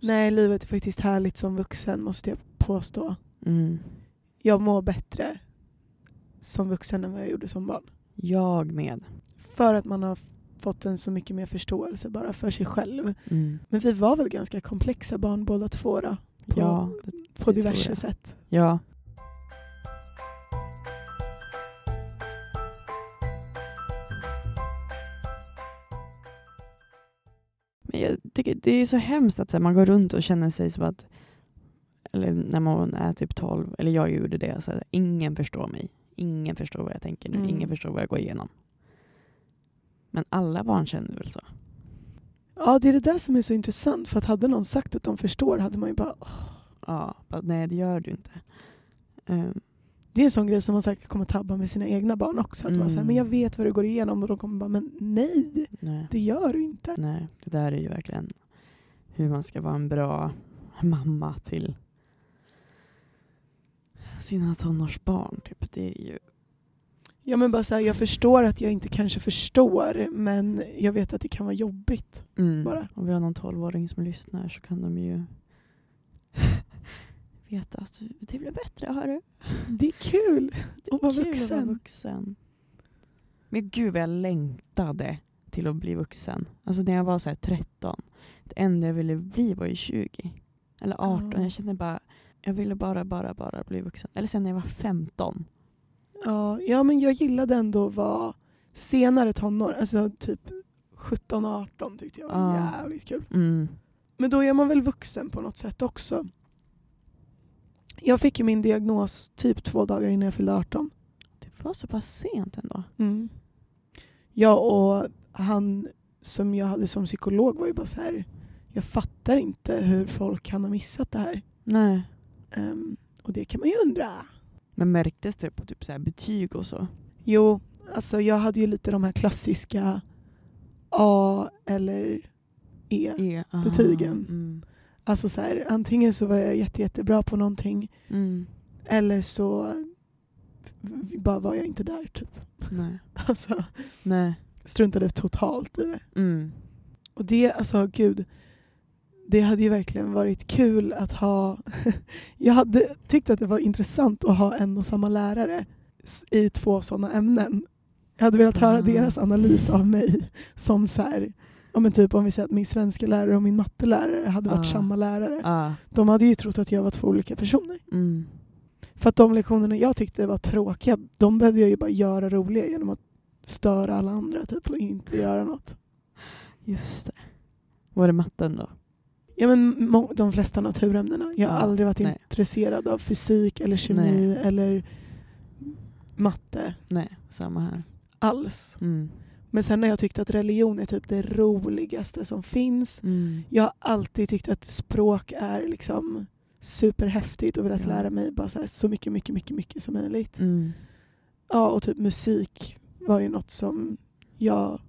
Speaker 1: Nej, livet är faktiskt härligt som vuxen måste jag påstå.
Speaker 2: Mm.
Speaker 1: Jag mår bättre som vuxen än vad jag gjorde som barn.
Speaker 2: Jag med.
Speaker 1: För att man har fått en så mycket mer förståelse bara för sig själv.
Speaker 2: Mm.
Speaker 1: Men vi var väl ganska komplexa barn båda två då, På-
Speaker 2: Ja, det
Speaker 1: på
Speaker 2: Det tror
Speaker 1: diverse
Speaker 2: jag.
Speaker 1: sätt.
Speaker 2: Ja. Men jag tycker det är så hemskt att så här, man går runt och känner sig som att eller när man är typ 12, eller jag gjorde det, så här, ingen förstår mig. Ingen förstår vad jag tänker nu,
Speaker 1: Mm.
Speaker 2: ingen förstår vad jag går igenom. Men alla barn känner väl så?
Speaker 1: Ja, det är det där som är så intressant. För att hade någon sagt att de förstår hade man ju bara... "Åh."
Speaker 2: Ja, bara, nej det gör du inte. Ehm,
Speaker 1: Det är en sån grej som man säkert kommer tabba med sina egna barn också. Att vara så här,
Speaker 2: Mm.
Speaker 1: men jag vet vad du går igenom. Och de kommer bara, men nej,
Speaker 2: nej.
Speaker 1: det gör du inte.
Speaker 2: Nej, det där är ju verkligen hur man ska vara en bra mamma till sina tonårsbarn. Typ. Det är ju...
Speaker 1: Ja men bara så här, jag förstår att jag inte kanske förstår men jag vet att det kan vara jobbigt. Bara.
Speaker 2: Om vi har någon tolvåring som lyssnar så kan de ju [laughs] veta att det blir bättre, hörru.
Speaker 1: Det är kul
Speaker 2: Det
Speaker 1: att vara
Speaker 2: kul Att vara
Speaker 1: vuxen.
Speaker 2: vuxen. Men gud vad jag längtade till att bli vuxen. Alltså när jag var så här 13. Det enda jag ville bli var ju 20. Eller 18.
Speaker 1: Ja.
Speaker 2: Jag kände bara, jag ville bara, bara, bara bli vuxen. Eller sen när jag var 15.
Speaker 1: Ja, ja men jag gillade ändå att vara senare tonår, alltså typ 17-18 tyckte jag var
Speaker 2: Ja.
Speaker 1: jävligt kul.
Speaker 2: Mm.
Speaker 1: Men då är man väl vuxen på något sätt också. Jag fick ju min diagnos typ två dagar innan jag fyllde 18.
Speaker 2: Det var så pass sent ändå.
Speaker 1: Jag och han som jag hade som psykolog var ju bara så här. jag fattar inte hur folk kan ha missat det här.
Speaker 2: Nej.
Speaker 1: Ehm, och det kan man ju undra.
Speaker 2: Men märktes det på typ så här betyg och så?
Speaker 1: Jo, alltså jag hade ju lite de här klassiska A eller E.
Speaker 2: E, aha,
Speaker 1: Betygen.
Speaker 2: Mm.
Speaker 1: Alltså så här, antingen så var jag jätte, jättebra på någonting
Speaker 2: Mm.
Speaker 1: eller så v- bara var jag inte där typ.
Speaker 2: Nej.
Speaker 1: Alltså,
Speaker 2: Nej.
Speaker 1: struntade totalt i det.
Speaker 2: Mm.
Speaker 1: Och det, alltså gud, det hade ju verkligen varit kul att ha... [laughs] jag hade tyckt att det var intressant att ha en och samma lärare s- i två sådana ämnen. Jag hade velat höra
Speaker 2: Ah.
Speaker 1: deras analys av mig [laughs] som så här, ja men typ om vi säger att min svenska lärare och min mattelärare hade varit
Speaker 2: Ah.
Speaker 1: samma lärare.
Speaker 2: Ah.
Speaker 1: De hade ju trott att jag var två olika personer.
Speaker 2: Mm.
Speaker 1: För att de lektionerna jag tyckte var tråkiga, de behövde jag ju bara göra roliga genom att störa alla andra typ och inte göra något.
Speaker 2: Just det. Var det matten då?
Speaker 1: Ja, men må- de flesta naturämnena. Jag har
Speaker 2: Ja,
Speaker 1: aldrig varit
Speaker 2: nej.
Speaker 1: intresserad av fysik eller kemi eller matte
Speaker 2: Nej, samma här.
Speaker 1: alls.
Speaker 2: Mm.
Speaker 1: Men sen har jag tyckt att religion är typ det roligaste som finns.
Speaker 2: Mm.
Speaker 1: Jag har alltid tyckt att språk är liksom superhäftigt och velat
Speaker 2: Ja.
Speaker 1: lära mig bara så, här, så mycket, mycket, mycket, mycket som möjligt.
Speaker 2: Mm.
Speaker 1: Ja, och typ musik var ju något som jag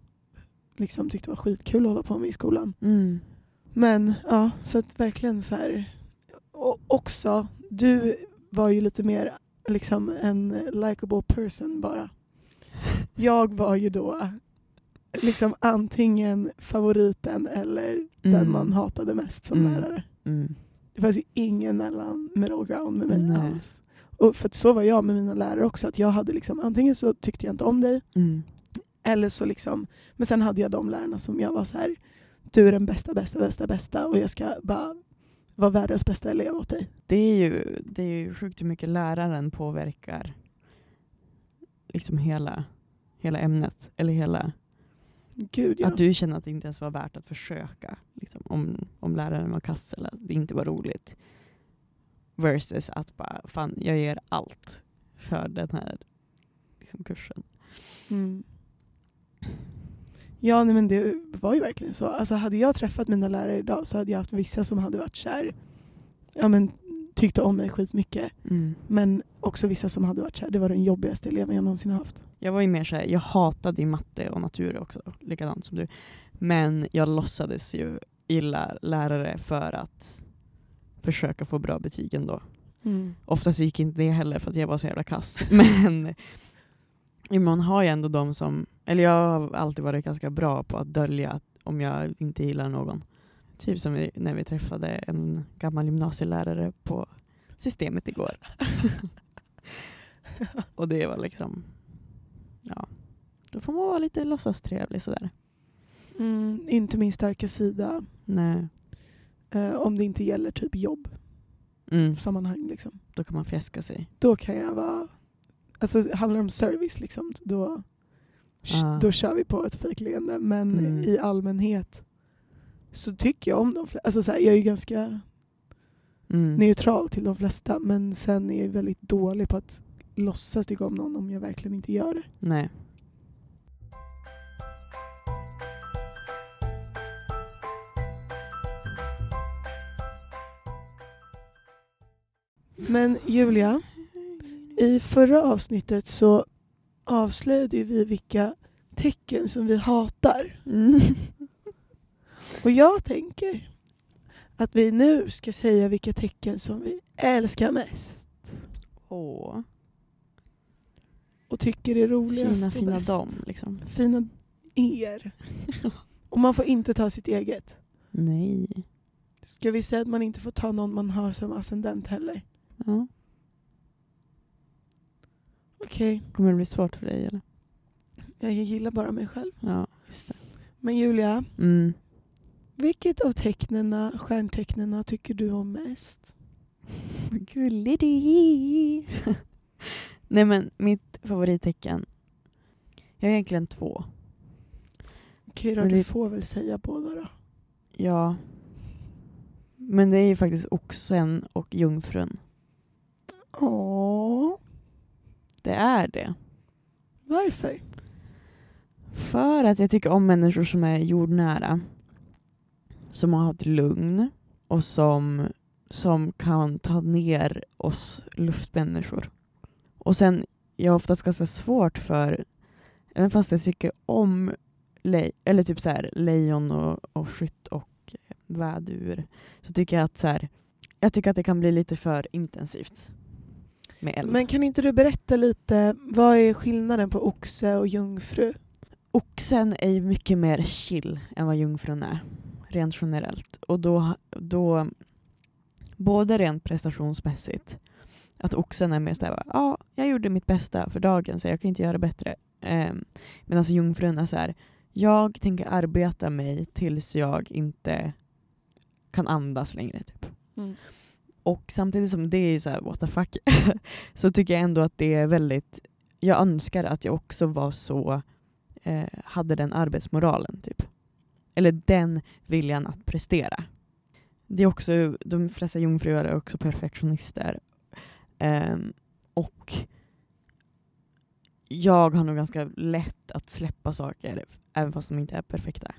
Speaker 1: liksom tyckte var skitkul att hålla på med i skolan.
Speaker 2: Mm.
Speaker 1: Men ja, så att verkligen så här. Och också, du var ju lite mer liksom en likable person bara. Jag var ju då liksom antingen favoriten eller den
Speaker 2: Mm.
Speaker 1: man hatade mest som
Speaker 2: Mm.
Speaker 1: lärare.
Speaker 2: Mm.
Speaker 1: Det fanns ju ingen mellan middle ground med mig
Speaker 2: Nej.
Speaker 1: alls. Och för att så var jag med mina lärare också, att jag hade liksom antingen så tyckte jag inte om dig
Speaker 2: Mm.
Speaker 1: eller så liksom, men sen hade jag de lärarna som jag var så här, du är den bästa, bästa, bästa, bästa och jag ska bara vara världens bästa elev åt dig.
Speaker 2: Det är ju, det är ju sjukt hur mycket läraren påverkar liksom hela, hela ämnet. Eller hela,
Speaker 1: Gud ja.
Speaker 2: Att du känner att det inte ens var värt att försöka. Liksom, om, om läraren var kass eller att det inte var roligt. Versus att bara, fan jag ger allt för den här liksom, kursen.
Speaker 1: Mm. Ja, nej, men det var ju verkligen så. Alltså hade jag träffat mina lärare idag så hade jag haft vissa som hade varit så här, ja men tyckte om mig skitmycket.
Speaker 2: Mm.
Speaker 1: Men också vissa som hade varit så här, det var den jobbigaste eleven jag någonsin haft.
Speaker 2: Jag var ju mer såhär, jag hatade ju matte och natur också, likadant som du. Men jag låtsades ju gilla lärare för att försöka få bra betyg ändå. Oftast gick inte det heller för att jag var så jävla kass. [laughs] Men man har ju ändå de som, eller jag har alltid varit ganska bra på att dölja att om jag inte gillar någon. Typ som vi, när vi träffade en gammal gymnasielärare på systemet igår. Och det var liksom, ja. Då får man vara lite låtsastrevlig sådär.
Speaker 1: Mm, inte min starka sida
Speaker 2: Nej.
Speaker 1: eh, om det inte gäller typ jobb,
Speaker 2: Mm,
Speaker 1: sammanhang liksom.
Speaker 2: då kan man fjäska sig.
Speaker 1: då kan jag vara... Alltså handlar det om service liksom, då,
Speaker 2: Ah.
Speaker 1: då kör vi på ett fejkleende. Men
Speaker 2: Mm.
Speaker 1: i allmänhet så tycker jag om de flesta. Alltså så här, jag är ju ganska
Speaker 2: Mm.
Speaker 1: neutral till de flesta men sen är jag väldigt dålig på att låtsas tycka om någon om jag verkligen inte gör det.
Speaker 2: Nej.
Speaker 1: Men Julia, i förra avsnittet så avslöjade ju vi vilka tecken som vi hatar.
Speaker 2: Mm.
Speaker 1: Och jag tänker att vi nu ska säga vilka tecken som vi älskar mest.
Speaker 2: Åh,
Speaker 1: och tycker är roligast
Speaker 2: fina
Speaker 1: och
Speaker 2: fina
Speaker 1: bäst.
Speaker 2: dam liksom.
Speaker 1: Fina
Speaker 2: [laughs]
Speaker 1: er. och man får inte ta sitt eget.
Speaker 2: Nej.
Speaker 1: Ska vi säga att man inte får ta någon man har som ascendent heller?
Speaker 2: Ja.
Speaker 1: Okej,
Speaker 2: Kommer det bli svårt för dig eller?
Speaker 1: jag gillar bara mig själv.
Speaker 2: Ja, just det.
Speaker 1: Men Julia,
Speaker 2: Mm.
Speaker 1: vilket av tecknena, stjärntecknena tycker du om mest?
Speaker 2: Vad gullig du är. [laughs] Nej men mitt favorittecken. Jag har egentligen två.
Speaker 1: Okej då,
Speaker 2: Men
Speaker 1: du
Speaker 2: det-
Speaker 1: får väl säga båda då.
Speaker 2: Ja. Men det är ju faktiskt oxen och jungfrun.
Speaker 1: Åh,
Speaker 2: Det är det.
Speaker 1: varför?
Speaker 2: För att jag tycker om människor som är jordnära. som har ett lugn och som, som kan ta ner oss luftmänniskor. Och sen, jag har oftast ganska svårt för, även fast jag tycker om le- eller typ så här, lejon och, och skytt och eh, vädur, så tycker jag att så här, jag tycker att det kan bli lite för intensivt med eld.
Speaker 1: Men kan inte du berätta lite, vad är skillnaden på oxe och jungfru?
Speaker 2: Oxen är ju mycket mer chill än vad jungfrun är, rent generellt. Och då, då både rent prestationsmässigt, att oxen är mer såhär, ja, jag gjorde mitt bästa för dagen så jag kan inte göra bättre. Eh, Medan jungfrun är så här, jag tänker arbeta mig tills jag inte kan andas längre. Typ. Och samtidigt som det är ju så här, what the fuck, [laughs] så tycker jag ändå att det är väldigt, jag önskar att jag också var så, eh, hade den arbetsmoralen typ. Eller den viljan att prestera. Det är också, de flesta jungfrur är också perfektionister. Ehm, och jag har nog ganska lätt att släppa saker även fast de inte är perfekta.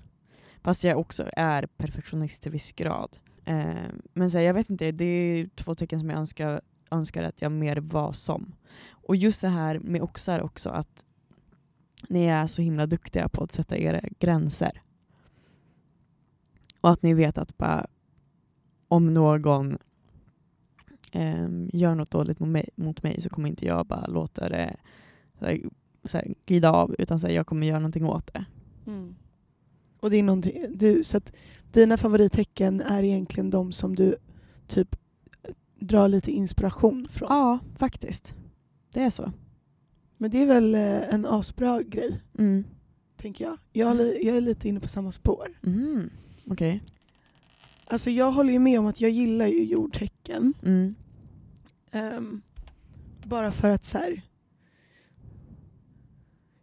Speaker 2: Fast jag också är perfektionist till viss grad. Eh, men så här, jag vet inte, det är två tecken som jag önskar, önskar att jag mer var som. Och just det här med oxar också, att ni är så himla duktiga på att sätta era gränser. Och att ni vet att bara, om någon eh, gör något dåligt mot mig, mot mig så kommer inte jag bara låta det så här, så här, glida av utan så här, jag kommer göra någonting åt det.
Speaker 1: Och det är någonting, du, så att dina favorittecken är egentligen de som du typ drar lite inspiration från.
Speaker 2: Ja, faktiskt. Det är så.
Speaker 1: Men det är väl eh, en asbra grej,
Speaker 2: Mm.
Speaker 1: tänker jag. Jag, är li- jag är lite inne på samma spår.
Speaker 2: Mm. Okej.
Speaker 1: Alltså jag håller ju med om att jag gillar ju jordtecken.
Speaker 2: Mm.
Speaker 1: Ehm, bara för att så här.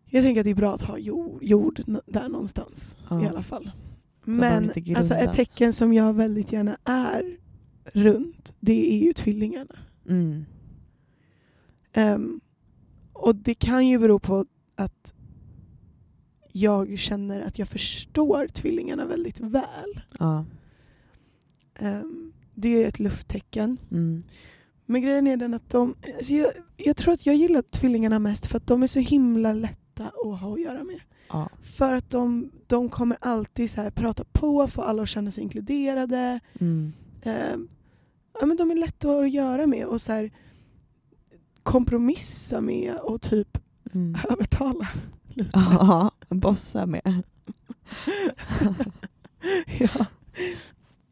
Speaker 1: Jag tänker att det är bra att ha jord, jord n- där någonstans
Speaker 2: Ja.
Speaker 1: i alla fall.
Speaker 2: de
Speaker 1: Men
Speaker 2: inte grundar
Speaker 1: alltså ett
Speaker 2: oss.
Speaker 1: tecken som jag väldigt gärna är runt, det är ju tvillingarna.
Speaker 2: Mm.
Speaker 1: Ehm, och det kan ju bero på att jag känner att jag förstår tvillingarna väldigt väl.
Speaker 2: Ja.
Speaker 1: Ehm, det är ett lufttecken.
Speaker 2: Mm.
Speaker 1: Men grejen är den att de... Alltså jag, jag tror att jag gillar tvillingarna mest för att de är så himla lätta att ha att göra med.
Speaker 2: Ja.
Speaker 1: För att de, de kommer alltid så här prata på, få alla att känna sig inkluderade.
Speaker 2: Mm.
Speaker 1: Eh, ja, men de är lätta att göra med och så här, kompromissa med och typ [laughs]
Speaker 2: Mm.
Speaker 1: övertala. [laughs]
Speaker 2: Ja, bossa med. [laughs]
Speaker 1: ja.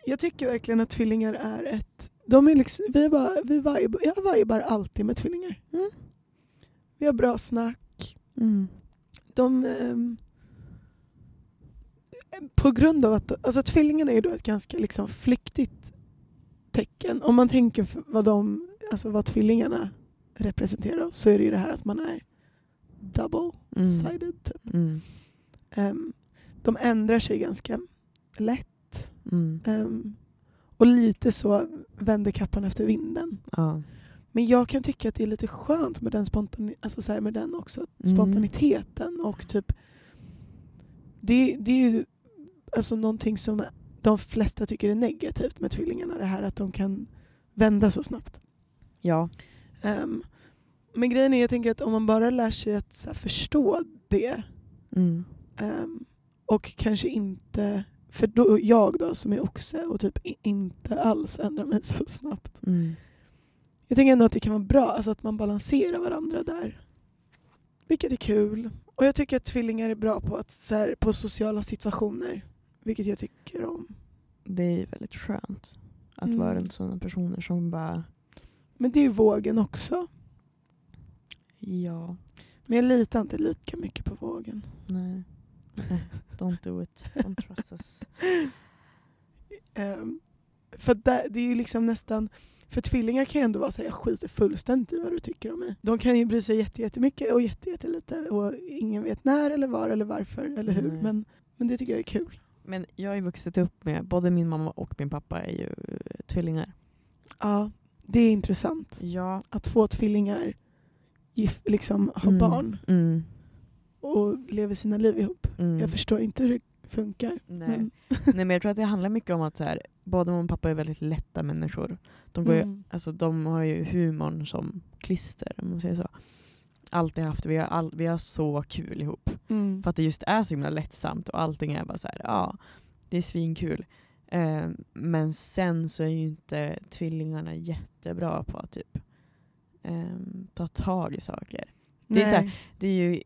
Speaker 1: Jag tycker verkligen att tvillingar är ett... De är liksom, vi är bara, vi vibar, jag vibar alltid med tvillingar.
Speaker 2: Mm.
Speaker 1: Vi har bra snack.
Speaker 2: Mm.
Speaker 1: de... ehm, på grund av att... Alltså tvillingarna är ju då ett ganska liksom flyktigt tecken. Om man tänker f- vad, de, alltså vad tvillingarna representerar så är det ju det här att man är double-sided. Typ.
Speaker 2: Mm.
Speaker 1: Ehm, de ändrar sig ganska lätt.
Speaker 2: Mm.
Speaker 1: ehm, och lite så vänder kappan efter vinden.
Speaker 2: Ja.
Speaker 1: Men jag kan tycka att det är lite skönt med den, spontani- alltså så här med den också,
Speaker 2: Mm.
Speaker 1: spontaniteten och typ det, det är ju alltså någonting som de flesta tycker är negativt med tvillingarna, det här att de kan vända så snabbt.
Speaker 2: Ja.
Speaker 1: Ehm, men grejen är, jag tänker att om man bara lär sig att så här, förstå det
Speaker 2: Mm.
Speaker 1: ehm, och kanske inte, för då, jag då som är oxe och typ i- inte alls ändrar mig så snabbt
Speaker 2: Mm.
Speaker 1: Jag tänker ändå att det kan vara bra, alltså att man balanserar varandra där. Vilket är kul. Och jag tycker att tvillingar är bra på, att, så här, på sociala situationer. Vilket jag tycker om.
Speaker 2: Det är ju väldigt skönt att
Speaker 1: Mm.
Speaker 2: vara runt sådana personer som bara,
Speaker 1: Men det är ju vågen också.
Speaker 2: ja,
Speaker 1: Men jag litar inte lika mycket på vågen.
Speaker 2: nej. Nej, Don't do it. Don't trust us.
Speaker 1: Ehm, för där, det är ju liksom nästan... För tvillingar kan ju ändå vara så här, jag skiter fullständigt i vad du tycker om mig. De kan ju bry sig jätte- jättemycket och jätte- jättelite och ingen vet när eller var eller varför eller hur.
Speaker 2: Nej.
Speaker 1: Men, men det tycker jag är kul.
Speaker 2: [laughs] Men jag har ju vuxit upp med, både min mamma och min pappa är ju eh, tvillingar.
Speaker 1: Ja, det är intressant.
Speaker 2: Ja.
Speaker 1: att två tvillingar gif, liksom, har
Speaker 2: Mm.
Speaker 1: barn
Speaker 2: Mm.
Speaker 1: och lever sina liv ihop.
Speaker 2: Mm.
Speaker 1: Jag förstår inte hur det funkar.
Speaker 2: Nej.
Speaker 1: Men,
Speaker 2: [laughs] Nej men jag tror att det handlar mycket om att så här, både mamma och pappa är väldigt lätta människor. De, går ju,
Speaker 1: Mm.
Speaker 2: alltså, de har ju humorn som klister om man säger så. Alltid haft, vi har, all, vi har så kul ihop.
Speaker 1: mm.
Speaker 2: För att det just är så himla lättsamt och allting är bara så här, ja det är svinkul. Eh, men sen så är ju inte tvillingarna jättebra på att typ eh, ta tag i saker. det är så här-
Speaker 1: Nej.
Speaker 2: Det är ju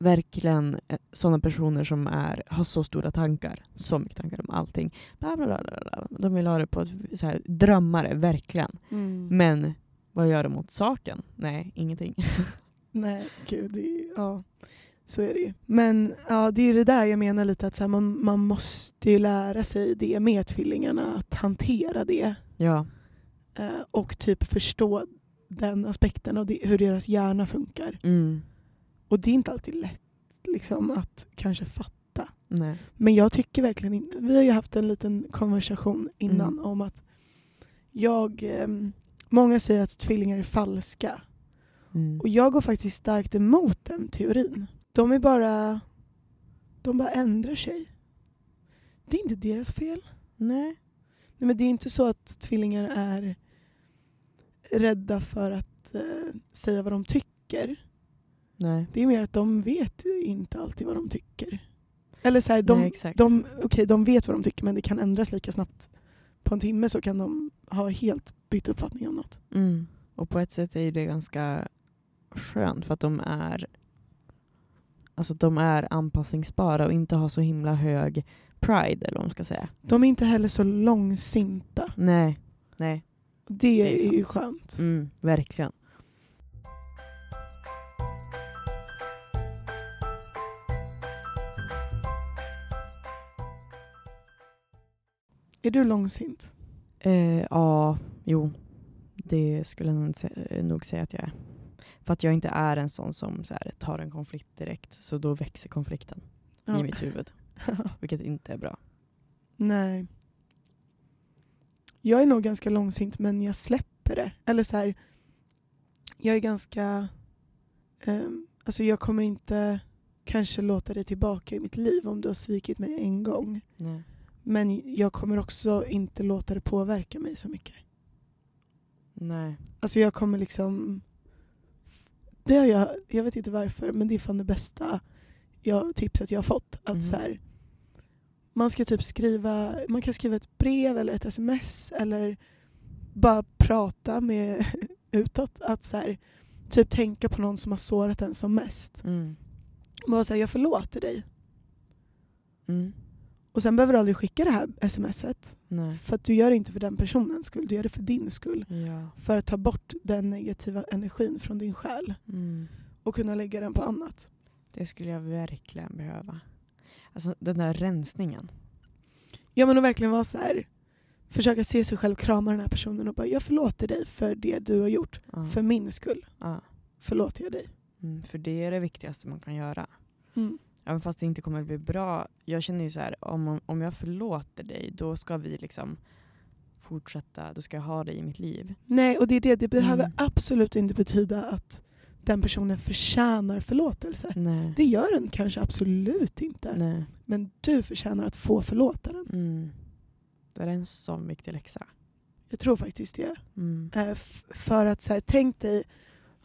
Speaker 2: verkligen sådana personer som är, har så stora tankar, så mycket tankar om allting. Bla bla bla bla bla. De vill ha det på ett, så här, drömmare, verkligen.
Speaker 1: Mm.
Speaker 2: Men vad gör de åt saken? Nej, ingenting. [laughs]
Speaker 1: Nej, gud, det är, ja, så är det ju. Men ja, det är det där jag menar lite att så här, man, man måste ju lära sig det med tvillingarna, att hantera det
Speaker 2: Ja,
Speaker 1: eh, och typ förstå den aspekten av det, hur deras hjärna funkar.
Speaker 2: mm.
Speaker 1: Och det är inte alltid lätt liksom, att kanske fatta.
Speaker 2: nej.
Speaker 1: Men jag tycker verkligen inte, vi har ju haft en liten konversation innan
Speaker 2: Mm.
Speaker 1: om att jag, ehm, många säger att tvillingar är falska.
Speaker 2: Mm.
Speaker 1: Och jag går faktiskt starkt emot den teorin. De är bara... De bara ändrar sig. Det är inte deras fel.
Speaker 2: Nej.
Speaker 1: Nej, men det är inte så att tvillingar är rädda för att eh, säga vad de tycker.
Speaker 2: Nej.
Speaker 1: Det är mer att de vet inte alltid vad de tycker. Eller så här, de,
Speaker 2: Nej, exakt.
Speaker 1: de, okej, de vet vad de tycker men det kan ändras lika snabbt. På en timme så kan de ha helt bytt uppfattning om något.
Speaker 2: Mm. Och på ett sätt är ju det ganska skönt för att de är Alltså de är anpassningsbara och inte har så himla hög pride eller vad man ska säga.
Speaker 1: De är inte heller så långsinta.
Speaker 2: Nej, nej.
Speaker 1: Det,
Speaker 2: Det är
Speaker 1: är, ju skönt.
Speaker 2: Mm, verkligen.
Speaker 1: Är du långsint?
Speaker 2: Eh, ja, jo. Det skulle jag nog sä- eh, nog säga att jag är. För att jag inte är en sån som så här, tar en konflikt direkt så då växer konflikten i mitt huvud. Vilket inte är bra.
Speaker 1: [laughs] Nej. Jag är nog ganska långsint men jag släpper det. Eller så här, jag är ganska... Um, alltså jag kommer inte kanske låta det tillbaka i mitt liv om du har svikit mig en gång.
Speaker 2: Nej.
Speaker 1: Men jag kommer också inte låta det påverka mig så mycket.
Speaker 2: Nej.
Speaker 1: Alltså jag kommer liksom... Det har jag, jag vet inte varför, men det är fan det bästa jag, tipset jag har fått. Att
Speaker 2: Mhm.
Speaker 1: så här, man ska typ skriva, man kan skriva ett brev eller ett sms eller bara prata med [laughs] utåt. Att så här, typ tänka på någon som har sårat en som mest.
Speaker 2: Mm.
Speaker 1: Bara säga jag förlåter dig.
Speaker 2: Mm.
Speaker 1: Och sen behöver du aldrig skicka det här smset.
Speaker 2: Nej.
Speaker 1: För att du gör det inte för den personens skull, du gör det för din skull.
Speaker 2: Ja.
Speaker 1: För att ta bort den negativa energin från din själ.
Speaker 2: Mm.
Speaker 1: och kunna lägga den på annat.
Speaker 2: Det skulle jag verkligen behöva. Alltså den där rensningen.
Speaker 1: Ja men att verkligen vara så här. försöka se sig själv krama den här personen och bara jag förlåter dig för det du har gjort.
Speaker 2: Ja.
Speaker 1: För min skull
Speaker 2: ja.
Speaker 1: förlåter jag dig.
Speaker 2: Mm, för det är det viktigaste man kan göra. Även fast det inte kommer att bli bra. Jag känner ju så här, om, om jag förlåter dig då ska vi liksom fortsätta, då ska jag ha dig i
Speaker 1: [laughs]
Speaker 2: mitt liv.
Speaker 1: Nej och det är det, det behöver
Speaker 2: Mm.
Speaker 1: absolut inte betyda att den personen förtjänar förlåtelse.
Speaker 2: Nej.
Speaker 1: Det gör den kanske absolut inte.
Speaker 2: Nej.
Speaker 1: Men du förtjänar att få förlåta den.
Speaker 2: Mm. Det är en sån viktig läxa.
Speaker 1: Jag tror faktiskt det.
Speaker 2: Mm.
Speaker 1: Eh, f- För att så här, tänk dig,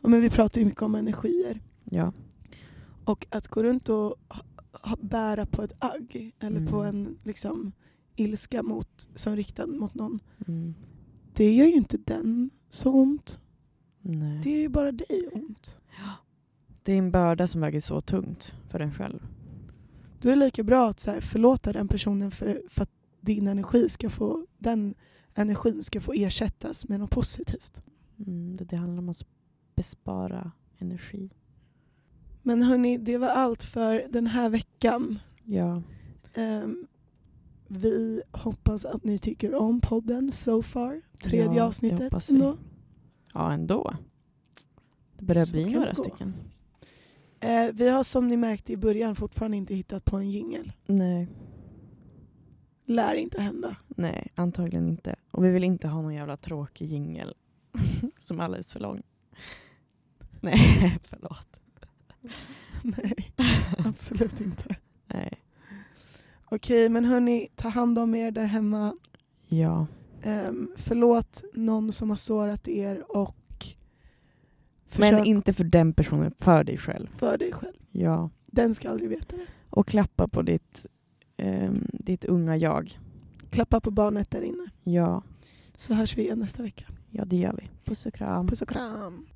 Speaker 1: ja, men vi pratar ju mycket om energier.
Speaker 2: Ja.
Speaker 1: Och att gå runt och ha- ha, bära på ett agg eller
Speaker 2: Mm.
Speaker 1: på en liksom, ilska mot, som riktad mot någon.
Speaker 2: Mm.
Speaker 1: Det gör ju inte den så ont.
Speaker 2: Nej.
Speaker 1: Det är ju bara dig ont.
Speaker 2: Det är en börda som väger så tungt för en själv.
Speaker 1: Då är det lika bra att så här, förlåta den personen för, för att din energi ska få, den energin ska få ersättas med något positivt.
Speaker 2: Mm. Det, det handlar om att bespara energi.
Speaker 1: Men hörni, det var allt för den här veckan.
Speaker 2: Ja.
Speaker 1: Ehm, vi hoppas att ni tycker om podden so far. Tredje
Speaker 2: Ja, det
Speaker 1: avsnittet
Speaker 2: hoppas vi.
Speaker 1: ändå.
Speaker 2: Ja, ändå. Det börjar
Speaker 1: Så
Speaker 2: bli
Speaker 1: kan
Speaker 2: några
Speaker 1: det gå.
Speaker 2: stycken.
Speaker 1: Eh, vi har som ni märkte i början fortfarande inte hittat på en jingel.
Speaker 2: Nej.
Speaker 1: Lär inte hända. [laughs]
Speaker 2: Nej, antagligen inte. Och vi vill inte ha någon jävla tråkig jingel [laughs] som är alldeles för lång. Nej, [laughs] förlåt.
Speaker 1: Nej, absolut inte.
Speaker 2: Nej.
Speaker 1: Okej, men hörni, ta hand om er där hemma.
Speaker 2: Ja.
Speaker 1: Um, förlåt någon som har sårat er och försök
Speaker 2: Men inte för den personen, för dig själv.
Speaker 1: för dig själv.
Speaker 2: Ja.
Speaker 1: Den ska aldrig veta det.
Speaker 2: Och klappa på ditt, ehm, ditt unga jag.
Speaker 1: Klappa på barnet där inne.
Speaker 2: Ja,
Speaker 1: Så hörs vi igen nästa vecka.
Speaker 2: ja det gör vi. Puss och kram.
Speaker 1: Puss och kram.